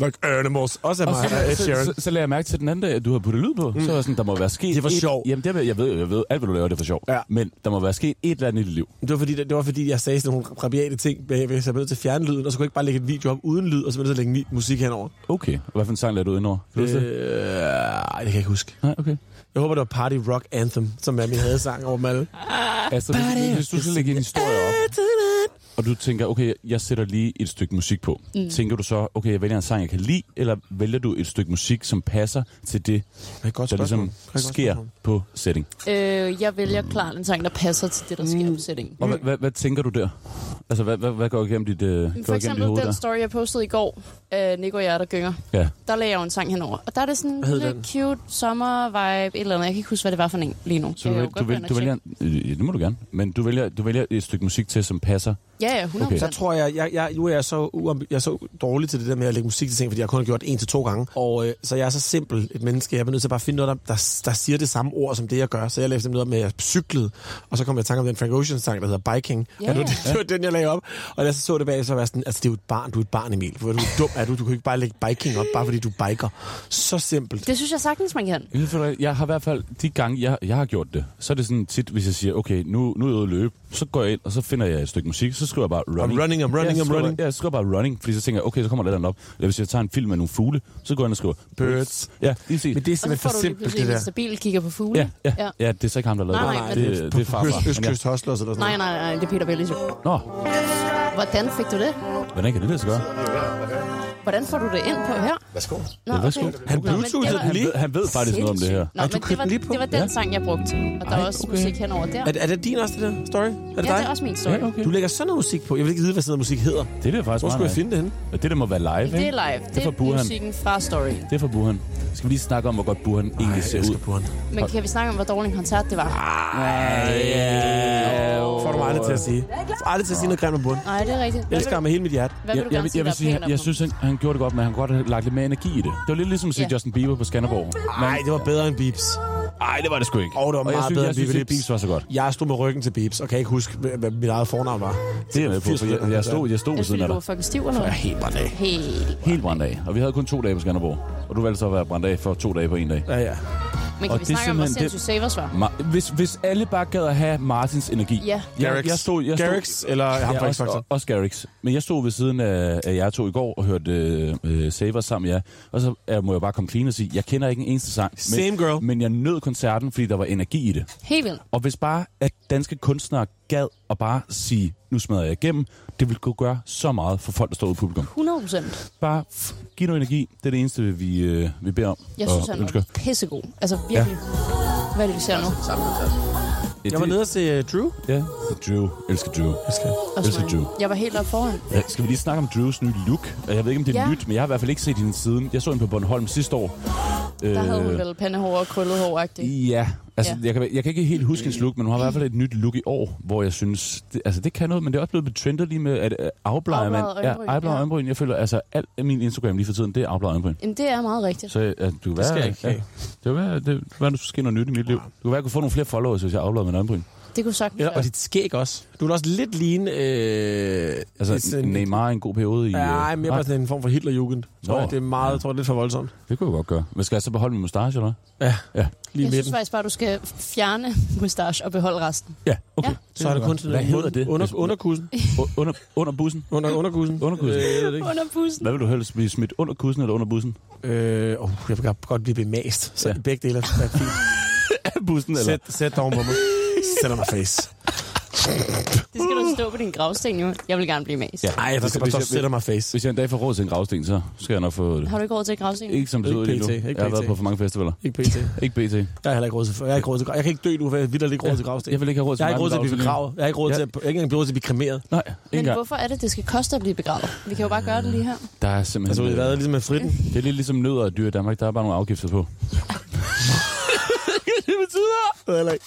Speaker 2: Like animals. Også af mig,
Speaker 1: Og så,
Speaker 2: Ed
Speaker 1: så,
Speaker 2: Sheeran.
Speaker 1: så, så lagde jeg mærke til den anden dag, at du har puttet lyd på. Mm. Så var jeg sådan, der må være sket...
Speaker 2: Det er for
Speaker 1: et-
Speaker 2: sjov.
Speaker 1: Jamen, det, er- jeg ved, jeg ved, alt hvad du laver, det er for sjov.
Speaker 2: Ja.
Speaker 1: Men der må være sket et eller andet i dit liv.
Speaker 2: Det var, fordi, det, det var fordi, jeg sagde sådan nogle rabiate ting, bagved, så jeg blev nødt til at fjerne lyden, og så kunne jeg ikke bare lægge et video op uden lyd, og så blev jeg nødt til at lægge ny musik henover.
Speaker 1: Okay. Hvad for en sang lavede du indover? Kan du
Speaker 2: Øh,
Speaker 1: huske
Speaker 2: ej,
Speaker 1: det?
Speaker 2: det kan jeg ikke huske.
Speaker 1: Nej, okay.
Speaker 2: Jeg håber, det var Party Rock Anthem, som er min hadesang over dem alle.
Speaker 1: Altså, hvis, hvis du skal lægge en historie op, og du tænker, okay, jeg sætter lige et stykke musik på. Mm. Tænker du så, okay, jeg vælger en sang, jeg kan lide, eller vælger du et stykke musik, som passer til det,
Speaker 2: Det er et godt
Speaker 1: der
Speaker 2: spørgsmål.
Speaker 1: ligesom
Speaker 2: Det er et godt
Speaker 1: sker
Speaker 2: spørgsmål.
Speaker 1: på setting?
Speaker 5: Øh, jeg vælger klart en sang, der passer til det, der sker på sætningen.
Speaker 1: Og hvad, hvad, hvad tænker du der? Altså, hvad, hvad, hvad går igennem dit, øh, går
Speaker 5: For
Speaker 1: igennem dit
Speaker 5: eksempel
Speaker 1: hoved
Speaker 5: den
Speaker 1: der?
Speaker 5: story, jeg postede i går, øh, Nico og jeg, der gynger.
Speaker 1: Ja.
Speaker 5: Der lagde jeg jo en sang henover. Og der er det sådan en
Speaker 2: Hvad hed
Speaker 5: lille cute sommer-vibe, et eller andet. Jeg kan ikke huske, hvad det var for en lige nu.
Speaker 1: Så
Speaker 5: Jeg
Speaker 1: du,
Speaker 5: kan
Speaker 1: vælger,
Speaker 5: jo
Speaker 1: du,
Speaker 5: godt gå ind
Speaker 1: vælger,
Speaker 5: og
Speaker 1: du
Speaker 5: tjekke.
Speaker 1: vælger, øh, det må du gerne, men du vælger, du vælger et stykke musik til, som passer.
Speaker 5: Ja, ja, 100%.
Speaker 1: Okay.
Speaker 2: Der tror jeg, jeg, jeg, nu er jeg så, uambi- jeg er så dårlig til det der med at lægge musik til ting, fordi jeg kun har gjort det en til to gange. Og øh, så jeg er så simpel et menneske, jeg er nødt til at bare finde noget, der, der, der siger det samme ord som det, jeg gør. Så jeg lavede simpelthen noget med, at jeg cyklede, og så kom jeg i tanke om den Frank Ocean sang, der hedder Biking.
Speaker 5: Ja,
Speaker 2: Yeah. Og det, var,
Speaker 5: ja.
Speaker 2: det var den, jeg lagde op. Og da jeg så, så det bag, så var jeg sådan, altså det er jo et barn, du er et barn, Emil. Hvor er du dum er du? Du kan jo ikke bare lægge biking op, bare fordi du biker. Så simpelt.
Speaker 5: Det synes jeg sagtens, man kan.
Speaker 1: Jeg ved, Jeg har i hvert fald, de gange, jeg, jeg har gjort det, så er det sådan tit, hvis jeg siger, okay, nu, nu er jeg ude at løbe, så går jeg ind, og så finder jeg et stykke musik, så skriver jeg bare running.
Speaker 2: running, I'm
Speaker 1: ja,
Speaker 2: running,
Speaker 1: så
Speaker 2: I'm
Speaker 1: skriver jeg-
Speaker 2: running.
Speaker 1: Ja, jeg skriver bare running, fordi så tænker jeg, okay, så kommer der et eller andet op. Eller hvis jeg tager en film med nogle fugle, så går jeg ind og skriver birds. Ja, lige præcis.
Speaker 2: Men det er
Speaker 5: Og så
Speaker 2: simpelthen
Speaker 5: får
Speaker 2: for
Speaker 5: du lige
Speaker 2: simpelt,
Speaker 5: pludselig
Speaker 2: det
Speaker 5: en
Speaker 2: der.
Speaker 5: stabil kigger på fugle.
Speaker 1: Ja, ja, ja. ja, det er så ikke ham, der lavede
Speaker 5: Nej,
Speaker 1: det.
Speaker 5: nej,
Speaker 1: det, det, det er farfar.
Speaker 2: Øst,
Speaker 1: Men
Speaker 2: østkyst Hustlers eller sådan
Speaker 5: Nej,
Speaker 2: noget.
Speaker 5: nej, nej, det er Peter Bellis.
Speaker 1: ja. Nå,
Speaker 5: Hvordan fik du det?
Speaker 1: hvordan kan det lade sig gøre?
Speaker 5: Hvordan får du det ind på her?
Speaker 3: Værsgo.
Speaker 5: Nå,
Speaker 1: Ja, værsgo.
Speaker 2: Han
Speaker 5: Nå, men det
Speaker 2: bluetoothede
Speaker 5: var-
Speaker 2: den
Speaker 1: Han,
Speaker 2: lige.
Speaker 1: ved, han ved faktisk noget om det her.
Speaker 5: Nå,
Speaker 2: Ej, du
Speaker 5: Ej, men
Speaker 2: købte
Speaker 5: det var,
Speaker 2: den lige på.
Speaker 5: det var den
Speaker 1: Ja.
Speaker 5: sang, jeg brugte. Og der
Speaker 1: Ej,
Speaker 5: er også
Speaker 1: okay.
Speaker 5: musik henover der.
Speaker 2: Er, er det din også, det der story? Er det
Speaker 5: ja,
Speaker 2: dig?
Speaker 5: det er også min story.
Speaker 1: Ja, okay.
Speaker 2: Du lægger sådan noget musik på. Jeg vil ikke vide, hvad sådan noget musik hedder.
Speaker 1: Det er det faktisk
Speaker 2: Hvor skulle jeg
Speaker 1: meget
Speaker 2: finde det henne?
Speaker 1: nice. Det der må være live, ikke?
Speaker 5: Det er live. Det
Speaker 1: fra
Speaker 5: er
Speaker 1: Burhan.
Speaker 5: musikken fra story.
Speaker 1: Det er fra Burhan. Skal vi lige snakke om, hvor godt Burhan egentlig ser ud?
Speaker 2: Burhan.
Speaker 5: Men kan vi snakke om, hvor dårlig en koncert det var?
Speaker 1: Ah,
Speaker 2: Får du mig aldrig til at sige. Får aldrig til at sige noget grimt om Burhan.
Speaker 5: Nej, det er rigtigt.
Speaker 2: Jeg elsker ham med hele mit hjerte.
Speaker 5: Hvad vil du
Speaker 1: jeg,
Speaker 5: gerne
Speaker 1: vil-
Speaker 5: sige,
Speaker 1: jeg, vil
Speaker 5: der er
Speaker 1: sige,
Speaker 5: pænt
Speaker 1: jeg,
Speaker 5: om
Speaker 1: jeg
Speaker 5: ham?
Speaker 1: synes, han, han gjorde det godt, men han kunne godt have lagt lidt mere energi i det. Det var lidt ligesom at se
Speaker 5: Ja.
Speaker 1: Justin Bieber på Skanderborg.
Speaker 2: Nej, det var bedre end Beeps.
Speaker 1: Nej, det var det sgu ikke.
Speaker 2: Og det var
Speaker 1: jeg
Speaker 2: meget
Speaker 1: synes,
Speaker 2: bedre
Speaker 1: jeg synes
Speaker 2: end
Speaker 1: ikke, Bibs var så godt.
Speaker 2: Jeg stod med ryggen til Bibs, og kan ikke huske, hvad- hvad mit eget fornavn var.
Speaker 1: Det er jeg med på, for jeg, jeg stod, jeg stod ved siden
Speaker 5: det
Speaker 1: af
Speaker 5: fordi, du
Speaker 1: dig.
Speaker 5: var fucking stiv eller
Speaker 1: Jeg er
Speaker 5: noget?
Speaker 1: helt brændt af.
Speaker 5: Helt.
Speaker 1: Helt brændt af. Og vi havde kun to dage på Skanderborg. Og du valgte så at være brændt af for to dage på en dag.
Speaker 2: Ja, ja.
Speaker 5: Men kan vi snakke om, hvor sindssygt Savers var?
Speaker 1: Ma- hvis, hvis alle bare gad at have Martins energi.
Speaker 5: Ja.
Speaker 1: Jeg,
Speaker 2: Garrix.
Speaker 1: jeg stod, jeg stod,
Speaker 2: Garrix, eller ham fra X
Speaker 1: også,
Speaker 2: Factor?
Speaker 1: og- også Garrix. Men jeg stod ved siden af, af jer to i går og hørte øh, øh, Savers sammen med jer. Og så øh, må jeg bare komme clean og sige, jeg kender ikke en eneste sang. Men,
Speaker 2: Same girl.
Speaker 1: Men jeg nød koncerten, fordi der var energi i det.
Speaker 5: Helt vildt.
Speaker 1: Og hvis bare, at danske kunstnere gad at bare sige, nu smadrer jeg igennem, det ville kunne gøre så meget for folk, der står ude i publikum.
Speaker 5: 100 procent.
Speaker 1: Bare f- giv noget energi. Det er det eneste, vi, øh, vi beder om.
Speaker 5: Jeg
Speaker 1: og
Speaker 5: synes, han
Speaker 1: ønsker.
Speaker 5: var pissegod. Altså virkelig. Hvad er det, vi ser nu?
Speaker 1: Ja,
Speaker 2: Jeg var
Speaker 1: det-
Speaker 2: nede og se øh, Drew.
Speaker 1: Ja, Drew. Elsker Drew.
Speaker 2: Elsker.
Speaker 1: Elsker Drew.
Speaker 5: Jeg var helt oppe foran.
Speaker 1: Ja, skal vi lige snakke om Drews nye look? Og Jeg ved ikke, om det er
Speaker 5: Ja.
Speaker 1: ja. nyt, men jeg har i hvert fald ikke set hende siden. Jeg så hende på Bornholm sidste år. Øh,
Speaker 5: Der havde hun vel pandehår og krøllet hår -agtigt.
Speaker 1: Ja, altså
Speaker 5: Ja.
Speaker 1: ja. Jeg, kan, jeg kan ikke helt huske hendes look, men hun har i hvert fald et nyt look i år, hvor jeg synes, det, altså det kan noget, men det er også blevet betrendet lige med, at øh, afbleger man.
Speaker 5: Afbleget
Speaker 1: Ja,
Speaker 5: øjenbryn,
Speaker 1: afbleget
Speaker 5: ja.
Speaker 1: øjenbryn. Jeg føler, altså alt af min Instagram lige for tiden, det er afbleget øjenbryn.
Speaker 5: Jamen, det er meget rigtigt.
Speaker 1: Så øh, du kan være,
Speaker 2: skal jeg ikke
Speaker 1: ja,
Speaker 2: have. Ah.
Speaker 1: det kan være, det kan være, du sker noget nyt i mit liv. Du kan være, jeg kunne få nogle flere followers, hvis jeg afbleger min øjenbryn.
Speaker 5: Det kunne sagtens
Speaker 2: Ja,
Speaker 5: være.
Speaker 2: og dit skæg også. Du er da også lidt lignende... Øh,
Speaker 1: Altså,
Speaker 2: sådan-
Speaker 1: Neymar er en god periode i... øh,
Speaker 2: Ja, mere bare sådan en form for Hitlerjugend. Tror
Speaker 1: Nå.
Speaker 2: jeg. Det er meget, jeg tror, det er lidt for voldsomt.
Speaker 1: Det kunne jeg godt gøre. Men skal jeg så beholde min mustache, eller hvad?
Speaker 2: Ja,
Speaker 1: Ja.
Speaker 2: lige i
Speaker 5: Jeg synes
Speaker 2: midten.
Speaker 5: faktisk bare, du skal fjerne mustache og beholde resten.
Speaker 1: Ja, okay.
Speaker 5: Ja.
Speaker 2: Så er det kun sådan
Speaker 1: Hvad hedder det?
Speaker 2: Under,
Speaker 1: Hvis-
Speaker 2: underkussen.
Speaker 1: U- under, under bussen?
Speaker 2: Under, underkussen.
Speaker 1: Underkussen?
Speaker 2: Øh, jeg ved det ikke.
Speaker 5: Under bussen.
Speaker 1: Hvad vil du helst blive smidt under kussen eller under bussen?
Speaker 2: Øh, oh, jeg vil godt- godt blive bemast. Så
Speaker 1: Ja.
Speaker 2: ja. begge dele er fint.
Speaker 1: bussen,
Speaker 2: Sæt, sæt dig oven på mig. Sæt dig mig face.
Speaker 5: Det skal du altså stå på din gravsten, jo. Jeg vil gerne blive mas.
Speaker 1: Ja.
Speaker 2: Nej, der skal bare
Speaker 1: Hvis
Speaker 2: stå,
Speaker 1: jeg-
Speaker 2: sæt dig mig face.
Speaker 1: Hvis jeg en dag får råd til en gravsten, så skal jeg nok få det.
Speaker 5: Har du ikke råd til gravsten?
Speaker 1: Ikke som det
Speaker 2: Ikke
Speaker 1: ser ud lige nu.
Speaker 2: PT, ikke
Speaker 1: Jeg har været
Speaker 2: PT.
Speaker 1: på for mange festivaler.
Speaker 2: Ikke pt.
Speaker 1: Ikke BT.
Speaker 2: Jeg har heller ikke råd til, jeg har ikke råd til, jeg kan ikke dø nu, for jeg vil ikke råd til gravsten.
Speaker 1: Jeg vil ikke have råd til
Speaker 2: Jeg har ikke
Speaker 1: mange
Speaker 2: råd til at
Speaker 1: gravsten.
Speaker 2: blive begravet. Jeg har ikke råd til, at, jeg har ikke engang råd til at blive kremeret.
Speaker 1: Nej, ikke
Speaker 5: Men
Speaker 1: engang.
Speaker 5: hvorfor er det, det skal koste at blive begravet? Vi kan jo bare gøre det lige her.
Speaker 1: Der er simpelthen...
Speaker 2: Altså, det har været ligesom med fritten.
Speaker 1: det er lidt ligesom nødder og dyr i Danmark. Der er bare nogle afgifter på.
Speaker 2: det betyder. Det er heller ikke.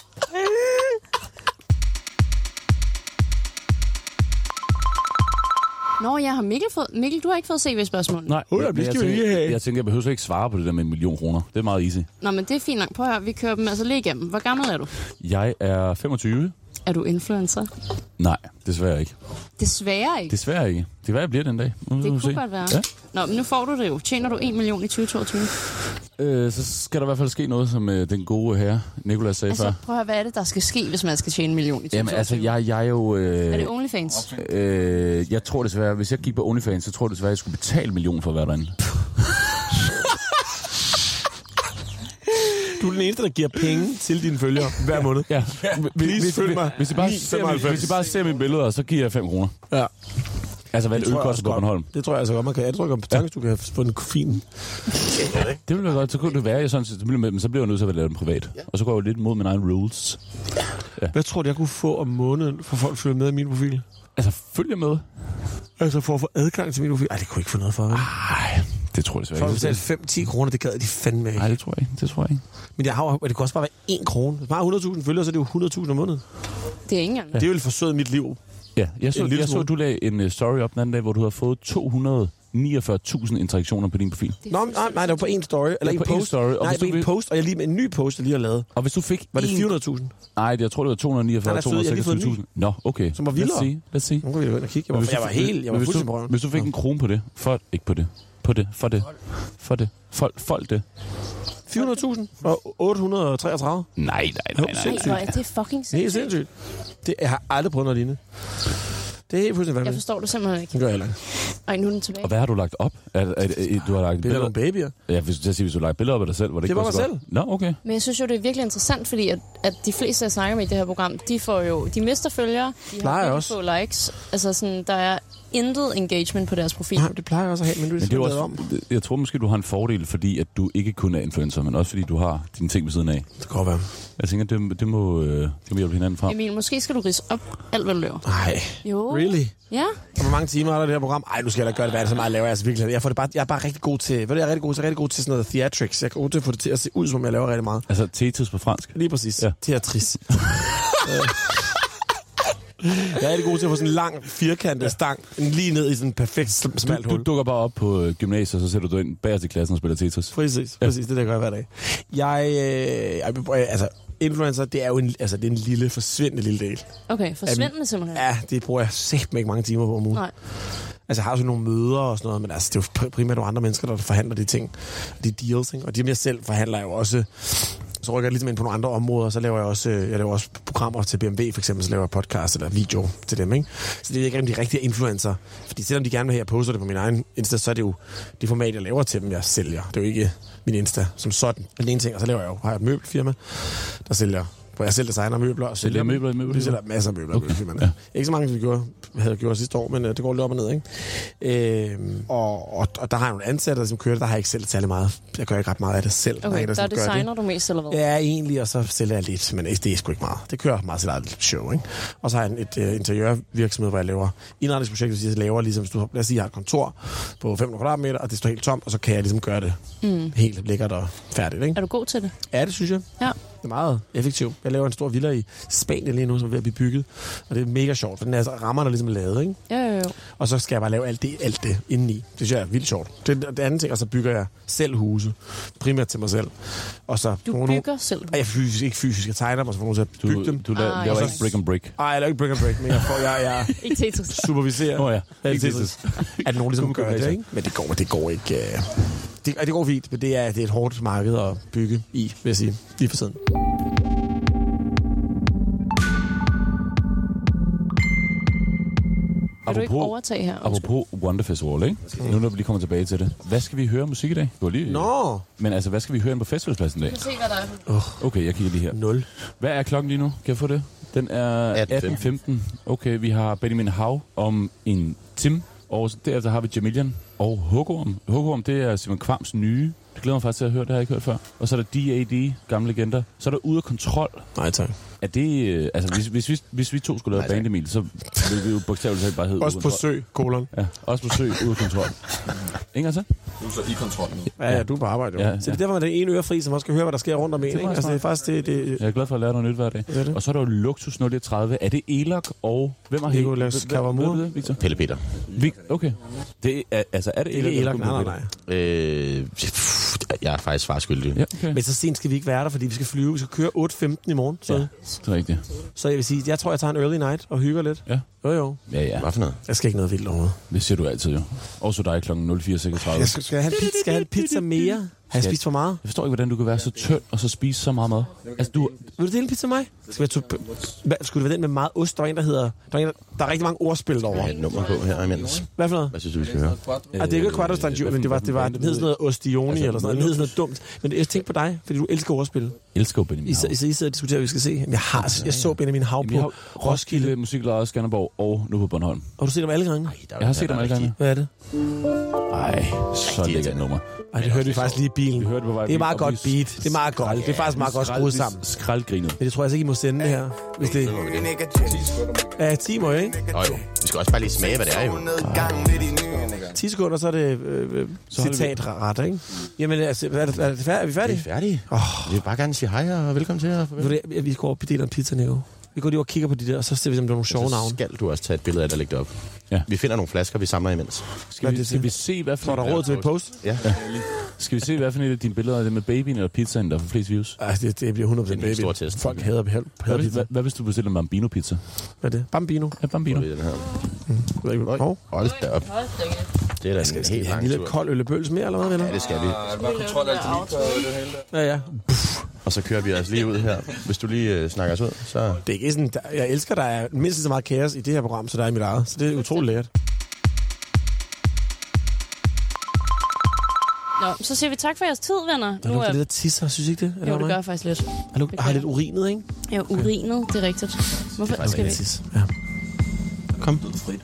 Speaker 5: Nå, jeg har Mikkel fået... Mikkel, du har ikke fået CV-spørgsmål.
Speaker 1: Nej,
Speaker 2: Hold da,
Speaker 1: men
Speaker 2: det
Speaker 1: jeg
Speaker 2: skal vi
Speaker 1: tænker-
Speaker 2: lige have.
Speaker 1: Jeg tænker, jeg behøver slet ikke svare på det der med en million kroner. Det er meget easy.
Speaker 5: Nå, men det er fint nok. Prøv at høre, vi kører dem altså lige igennem. Hvor gammel er du?
Speaker 1: Jeg er 25.
Speaker 5: Er du influencer?
Speaker 1: Nej, desværre ikke.
Speaker 5: Desværre ikke.
Speaker 1: Desværre ikke. Det kan være, jeg bliver den dag. Nu må vi
Speaker 5: Det
Speaker 1: se.
Speaker 5: kunne godt være.
Speaker 1: Ja.
Speaker 5: Nå, men nu får du det jo. Tjener du 1 million i 2022?
Speaker 1: Øh, så skal der i hvert fald ske noget, som øh, den gode herre Nikolas sagde altså,
Speaker 5: Altså,
Speaker 1: før.
Speaker 5: prøv at høre, hvad er det, der skal ske, hvis man skal tjene en million i 2022?
Speaker 1: Jamen altså, jeg, jeg er jo... Øh,
Speaker 5: Er det OnlyFans?
Speaker 1: øh, jeg tror desværre, hvis jeg gik på OnlyFans, så tror jeg desværre, jeg skulle betale en million for at være derinde.
Speaker 2: Du er den eneste, der giver penge til dine følgere hver måned.
Speaker 1: Ja.
Speaker 2: Please følg mig.
Speaker 1: Hvis I bare,
Speaker 2: 9,95.
Speaker 1: ser, mine- hvis I bare ser mine billeder, så giver jeg 5 kroner.
Speaker 2: Ja.
Speaker 1: Altså, hvad et øl
Speaker 2: tror jeg
Speaker 1: koster
Speaker 2: også
Speaker 1: på
Speaker 2: godt.
Speaker 1: Bornholm.
Speaker 2: Det tror jeg altså godt, man kan. Jeg tror ikke, om tanken, du kan have fundet fin.
Speaker 1: Det ville være godt. Så kunne det være, jeg sådan set, så ville- men så bliver jeg nødt til at lave den privat. Og så går jeg jo lidt mod mine egne rules.
Speaker 2: Hvad tror du, jeg kunne få om måneden, for folk følger med i min profil?
Speaker 1: Altså, følger med.
Speaker 2: Altså for at få adgang til min profil? Ej, det kunne jeg ikke få noget for. vel?
Speaker 1: Nej, Ah, det tror jeg
Speaker 2: Folk
Speaker 1: desværre
Speaker 2: har
Speaker 1: ikke.
Speaker 2: betalt 5-10 kroner, det gad de fandme
Speaker 1: Nej,
Speaker 2: ikke.
Speaker 1: det tror jeg ikke. Det tror jeg ikke.
Speaker 2: Men jeg har, jo- det kunne også bare være 1 krone. Hvis man har 100.000 følgere, så er det jo 100.000 om måneden.
Speaker 5: Det er ikke engang.
Speaker 2: Det er jo forsøget mit liv.
Speaker 1: Ja, jeg så,
Speaker 2: En lille
Speaker 1: jeg så
Speaker 2: smule.
Speaker 1: du lagde en øh, story op den anden dag, hvor du havde fået 249.000 interaktioner på din profil.
Speaker 2: Nå, men nej, nej, det var på en story. Eller
Speaker 1: Ja,
Speaker 2: en
Speaker 1: på én
Speaker 2: post.
Speaker 1: story, og
Speaker 2: nej,
Speaker 1: hvis
Speaker 2: på
Speaker 1: du
Speaker 2: en
Speaker 1: vil-
Speaker 2: post, og jeg lige med en ny post, jeg lige har lavet.
Speaker 1: Og hvis du fik
Speaker 2: Var det
Speaker 1: en-
Speaker 2: 400.000?
Speaker 1: Nej, jeg tror, det var 249
Speaker 2: Nej, der stod, jeg har lige fået en
Speaker 1: 246.000. Nå, okay.
Speaker 2: Som var vildere.
Speaker 1: Lad os se. Lad os se.
Speaker 2: Nu kan vi jo ind og kigge. Jeg var,
Speaker 1: Hvis du-
Speaker 2: jeg var helt, jeg var
Speaker 1: hvis
Speaker 2: fuldstændig på
Speaker 1: du,
Speaker 2: røven.
Speaker 1: hvis du fik en krone på det, for, ikke på det, på det, for det, for det, for, for det.
Speaker 2: 400.000 og 833.
Speaker 1: Nej, nej, nej,
Speaker 2: Jo,
Speaker 1: nej.
Speaker 5: Nej,
Speaker 2: sindssygt.
Speaker 5: hvor er det fucking
Speaker 2: Det er helt
Speaker 5: sindssygt.
Speaker 2: sindssygt. Det, jeg har aldrig prøvet noget lignende. Det er helt fuldstændig
Speaker 5: Jeg
Speaker 2: vanvittigt.
Speaker 5: forstår det simpelthen ikke.
Speaker 2: Det gør jeg heller ikke.
Speaker 5: Ej, nu er den
Speaker 1: Og
Speaker 5: tilbage.
Speaker 1: hvad har du lagt op? Er, er, er, du har lagt
Speaker 2: Det er
Speaker 1: billeder?
Speaker 2: nogle babyer.
Speaker 1: Ja, hvis, til at sige, hvis du har lagt billeder op af dig selv, var det,
Speaker 2: Det
Speaker 1: ikke
Speaker 2: var
Speaker 1: så
Speaker 2: mig
Speaker 1: godt? Nå, okay.
Speaker 5: Men jeg synes jo, det er virkelig interessant, fordi at, at de fleste, jeg snakker med i det her program, de får jo, de mister følgere, de
Speaker 2: Plejer
Speaker 5: har virkelig
Speaker 2: også.
Speaker 5: få likes. Altså sådan, der er intet engagement på deres profil.
Speaker 2: Nej, det plejer jeg også at have, men nu er ligesom
Speaker 1: Men
Speaker 2: det,
Speaker 1: det er jo
Speaker 2: også... om.
Speaker 1: også, jeg tror måske, du har en fordel, fordi at du ikke kun er influencer, men også fordi du har dine ting ved siden af.
Speaker 2: Det kan godt være.
Speaker 1: Jeg tænker, det, det, må, øh, det må hjælpe hinanden frem.
Speaker 5: Emil, måske skal du rise op alt, hvad du laver.
Speaker 2: Nej.
Speaker 5: Jo.
Speaker 2: Really?
Speaker 5: Ja.
Speaker 2: Og hvor mange timer er der i det her program? Ej, nu skal jeg da gøre det, hvad er det så meget, laver jeg altså virkelig. Jeg, får det bare, jeg er bare rigtig god til, ved du, jeg er rigtig god til, Jeg er rigtig god til sådan noget theatrics. Jeg er god til at få det til at se ud, som om jeg laver rigtig meget.
Speaker 1: Altså, Tetis på fransk.
Speaker 2: Lige præcis.
Speaker 1: Ja.
Speaker 2: Teatris. Jeg er rigtig god til at få sådan en lang, firkantet stang lige ned i sådan en perfekt sm- smalt
Speaker 1: Du
Speaker 2: hul.
Speaker 1: dukker bare op på øh, gymnasiet, og så sætter du ind bagerst i klassen og spiller Tetris.
Speaker 2: Præcis, præcis. Det der gør jeg hver dag. Jeg, øh, jeg altså, influencer, det er jo en, altså, det er en lille, forsvindende lille del.
Speaker 5: Okay, forsvindende
Speaker 2: Jamen,
Speaker 5: simpelthen.
Speaker 2: Ja, det bruger jeg sæt ikke mange timer på om ugen.
Speaker 5: Nej.
Speaker 2: Altså, jeg har også nogle møder og sådan noget, men altså, det er jo pri- primært nogle andre mennesker, der forhandler de ting. De deals, ikke? Og de, jeg selv forhandler jeg jo også... Så rykker jeg ligesom ind på nogle andre områder, så laver jeg også, øh, jeg laver også programmer til BMW, for eksempel, så laver jeg podcast eller video til dem, ikke? Så det er ikke om de rigtige influencer. Fordi selvom de gerne vil have, at jeg poster det på min egen Insta, så er det jo det format, jeg laver til dem, jeg sælger. Det er jo ikke min Insta som sådan. Men det er en ting, og så laver jeg jo, har jeg et møbelfirma, der sælger hvor jeg selv designer møbler. Og
Speaker 1: Sælger møbler i møbelfirmaet?
Speaker 2: Vi sælger masser af møbler okay. i møbelfirmaerne. Ikke så mange, som vi gjorde, havde gjort sidste år, men øh, det går lidt op og ned, ikke? Øh, og, og, og, der har jeg nogle ansatte, som kører det. Der har jeg ikke selv særlig meget. Jeg gør ikke ret meget af det selv. er en,
Speaker 5: Okay, der, der
Speaker 2: sådan gør det.
Speaker 5: designer du mest, eller hvad?
Speaker 2: Ja, egentlig, og så sælger jeg lidt, men det er sgu ikke meget. Det kører meget sit eget show, ikke? Og så har jeg en- et uh, interiørvirksomhed, hvor jeg laver indretningsprojekter, hvis jeg laver ligesom, hvis du, lad os sige, jeg har et kontor på 500 kvadratmeter, og det står helt tomt, og så kan jeg ligesom gøre det
Speaker 5: Mm.
Speaker 2: helt lækkert og færdigt, ikke?
Speaker 5: Er du god til det?
Speaker 2: Ja, det synes jeg.
Speaker 5: Ja.
Speaker 2: Det er meget effektivt. Jeg laver en stor villa i Spanien lige nu, som er ved at blive bygget, og det er mega sjovt, for den er, rammerne er ligesom lavet, ikke?
Speaker 5: Jo, jo, jo.
Speaker 2: Og så skal jeg bare lave alt det, alt det indeni. Det synes jeg er vildt sjovt. Det, er det andet ting, og så bygger jeg selv huse. Primært til mig selv. Og så
Speaker 5: Du
Speaker 2: nogle-
Speaker 5: bygger selv.
Speaker 2: Ej, jeg fysisk, ikke fysisk. Jeg tegner mig, så får nogen til at bygge
Speaker 1: Du,
Speaker 2: dem.
Speaker 1: du laver,
Speaker 5: Ah,
Speaker 1: laver
Speaker 5: ja.
Speaker 1: ikke brick and brick.
Speaker 2: Ej, jeg laver ikke brick and break, men jeg, får, jeg, jeg
Speaker 5: Ikke Tetris.
Speaker 2: superviserer.
Speaker 1: Nå ja,
Speaker 2: alt
Speaker 1: ikke
Speaker 2: Tetris. At nogen ligesom gør det, ikke? Men det går, det går ikke... øh, Det, ej, det går fint, men det er, det er et hårdt marked at bygge i, vil jeg sige, lige for tiden.
Speaker 5: Vil du ikke overtage her? Undskyld.
Speaker 1: Apropos Wonder Festival, ikke? Nu når vi lige kommer tilbage til det. Hvad skal vi høre musik i dag? Du har lige...
Speaker 2: Nå!
Speaker 1: Men altså, hvad skal vi høre ind på festivalpladsen i dag?
Speaker 5: se, hvad der er.
Speaker 1: Okay, jeg kigger lige her.
Speaker 2: 0.
Speaker 1: Hvad er klokken lige nu? Kan jeg få det? Den er 18.15. Okay, vi har Benjamin Hav om en time. Og derefter har vi Jamilian og Hugorm. Hugorm, det er Simon Kvams nye. Det glæder mig faktisk til at høre, det har jeg ikke hørt før. Og så er der DAD, gamle legender. Så er der Ude af Kontrol.
Speaker 2: Nej, tak.
Speaker 1: Er det... øh, Altså, hvis, hvis, hvis, hvis vi to skulle lave band, Emil, så ville vi jo bogstaveligt talt bare hedde
Speaker 2: Også
Speaker 1: Ude af
Speaker 2: på
Speaker 1: Kontrol.
Speaker 2: sø, kolon.
Speaker 1: Ja, også på sø, Ude af Kontrol. Ingen så?
Speaker 3: Du er så i kontrol nu.
Speaker 2: Ja, ja, du er på arbejde, jo.
Speaker 1: Ja,
Speaker 2: Ja, så det
Speaker 1: ja.
Speaker 2: er derfor, at det er en øre fri, som også skal høre, hvad der sker rundt om en. Ikke?
Speaker 1: meget
Speaker 2: Altså, det er faktisk det, det,
Speaker 1: Jeg er glad for at lære noget nyt hver dag.
Speaker 2: er det.
Speaker 1: Og så er der jo Luxus 030. Er det Elok og... Hvem har hævet?
Speaker 2: Nicolas Cavamur.
Speaker 1: det, Victor?
Speaker 3: Pelle Peter.
Speaker 1: Vi, okay. Det er, altså, er det
Speaker 2: det er
Speaker 1: eller
Speaker 2: elak. Nej, nej, nej.
Speaker 3: Øh, pff, jeg er faktisk svarskyldig.
Speaker 1: Ja, okay.
Speaker 2: Men så sent skal vi ikke være der, fordi vi skal flyve. Vi skal køre 8.15 i morgen. Så, ja.
Speaker 1: Ja, det er rigtigt.
Speaker 2: så jeg vil sige, jeg tror, jeg tager en early night og hygger lidt.
Speaker 1: Ja.
Speaker 2: Jo, jo.
Speaker 1: Ja, ja.
Speaker 3: Hvad for noget?
Speaker 2: Jeg skal ikke noget vildt overhovedet.
Speaker 1: Det siger du altid jo. Også dig kl. 04.36.
Speaker 2: Jeg
Speaker 1: Jeg
Speaker 2: skal, skal, jeg have en pizza, skal jeg have en pizza mere? Har
Speaker 1: Skal-
Speaker 2: jeg spist for meget?
Speaker 1: forstår ikke, hvordan du kan være så tynd og så spise så meget mad. Altså, du...
Speaker 2: Vil du dele en pizza med mig? Skal, jeg to... Hvad, skulle det være den med meget ost? Der er en, der hedder... Der er, en, der, der er rigtig mange ordspil
Speaker 3: Jeg
Speaker 2: over.
Speaker 3: har et nummer på her imens.
Speaker 2: Hvad for noget?
Speaker 3: Hvad synes du, vi skal høre?
Speaker 2: Ah, det er jo ikke Quattro Stangioli, men det var, det var, den hed sådan noget Ostioni altså, eller sådan noget. Den hed sådan noget dumt. Men jeg tænkte på dig, fordi du elsker ordspil.
Speaker 1: Jeg elsker jo Benjamin
Speaker 2: I, så, I,
Speaker 1: Hav.
Speaker 2: så I sidder og diskuterer, hvad vi skal se. Jamen, Jeg, har, jeg så Benjamin Hav
Speaker 1: Jamen, jeg
Speaker 2: på
Speaker 1: har Roskilde
Speaker 2: Roskilde.
Speaker 1: Musiklejr, Skanderborg og nu på Bornholm.
Speaker 2: Har du set dem alle gange?
Speaker 1: Jeg har set dem alle gange.
Speaker 2: Hvad er det?
Speaker 1: Ej, så lækkert nummer.
Speaker 2: Ej, det hørte vi faktisk lige i bilen.
Speaker 1: Vi hørte på vej
Speaker 2: det er meget
Speaker 1: og
Speaker 2: godt
Speaker 1: vi
Speaker 2: beat. Det er meget godt. Det er faktisk meget godt skruet sammen.
Speaker 1: Skraldgrinet.
Speaker 2: Men det tror jeg altså ikke, I må sende det her. Hvis det... Ja, 10 må jeg, ikke?
Speaker 3: Nå jo, vi skal også bare lige smage, hvad det er jo.
Speaker 2: 10 sekunder, så er det øh, øh, citatret, ikke? Jamen, altså, er, det, er, det færd- er vi
Speaker 3: Vi
Speaker 2: færdige?
Speaker 3: er færdige. Vi vil bare gerne sige hej og velkommen til jer.
Speaker 2: Ved du hvad, Vi går op og deler en pizza, Nico. Vi går lige over og kigger på de der, og så ser vi, om der er nogle sjove
Speaker 3: Så
Speaker 2: navne.
Speaker 3: skal du også tage et billede af det og lægge det op.
Speaker 1: Ja.
Speaker 3: Vi finder nogle flasker, vi samler imens.
Speaker 1: Skal vi, skal vi se, hvad for,
Speaker 2: Var der råd til et post?
Speaker 3: Ja.
Speaker 1: skal vi se, hvad for et af dine billeder er det med babyen eller pizzaen, der får flest views?
Speaker 2: Ej, det, det bliver 100%
Speaker 3: Det er en
Speaker 2: baby.
Speaker 3: stor test.
Speaker 2: Folk hader, hader,
Speaker 1: Hvad,
Speaker 2: hader
Speaker 1: hvis-
Speaker 2: pizza.
Speaker 1: hvad, hvad hvis du bestiller en bambino-pizza?
Speaker 2: Hvad er det? Bambino.
Speaker 1: Ja, bambino.
Speaker 3: Det er den her.
Speaker 2: Jeg ved ikke, hvad- Hov.
Speaker 3: Hold da op. Det er da en helt
Speaker 2: Ja, en
Speaker 3: lang
Speaker 2: lille
Speaker 3: tur.
Speaker 2: kold øllebøls mere, eller hvad, venner?
Speaker 3: Ja, det skal vi.
Speaker 2: Ja, ja.
Speaker 3: Og så kører vi altså lige ud her. Hvis du lige øh, snakker os ud, så...
Speaker 2: Det er ikke sådan, der, jeg elsker, der er mindst lige så meget kaos i det her program, så der er i mit eget. Så det er utroligt lækkert.
Speaker 5: Nå, så siger vi tak for jeres tid, venner.
Speaker 2: Der
Speaker 5: Nu
Speaker 2: lugter
Speaker 5: er...
Speaker 2: lidt af tisser, synes I ikke det?
Speaker 5: Jo, det gør jeg faktisk lidt.
Speaker 2: Har, lugter, har lidt urinet, ikke?
Speaker 5: Jeg er urinet, det er rigtigt. Hvorfor skal vi?
Speaker 2: Ja.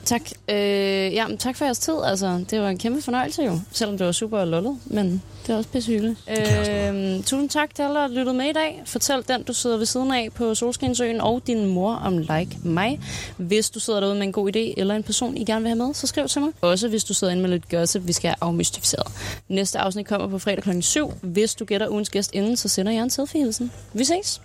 Speaker 5: Tak. Øh, ja, men tak for jeres tid. Altså, det var en kæmpe fornøjelse jo, selvom det var super lullet, men det er også pisse hyggeligt. Øh, tusind tak til alle, der har lyttet med i dag. Fortæl den, du sidder ved siden af på Solskinsøen og din mor om Like Mig. Hvis du sidder derude med en god idé eller en person, I gerne vil have med, så skriv til mig. Også hvis du sidder inde med lidt gossip, vi skal have afmystificeret. Næste afsnit kommer på fredag kl. 7. Hvis du gætter ugens gæst inden, så sender jeg en selfie-hilsen. Vi ses!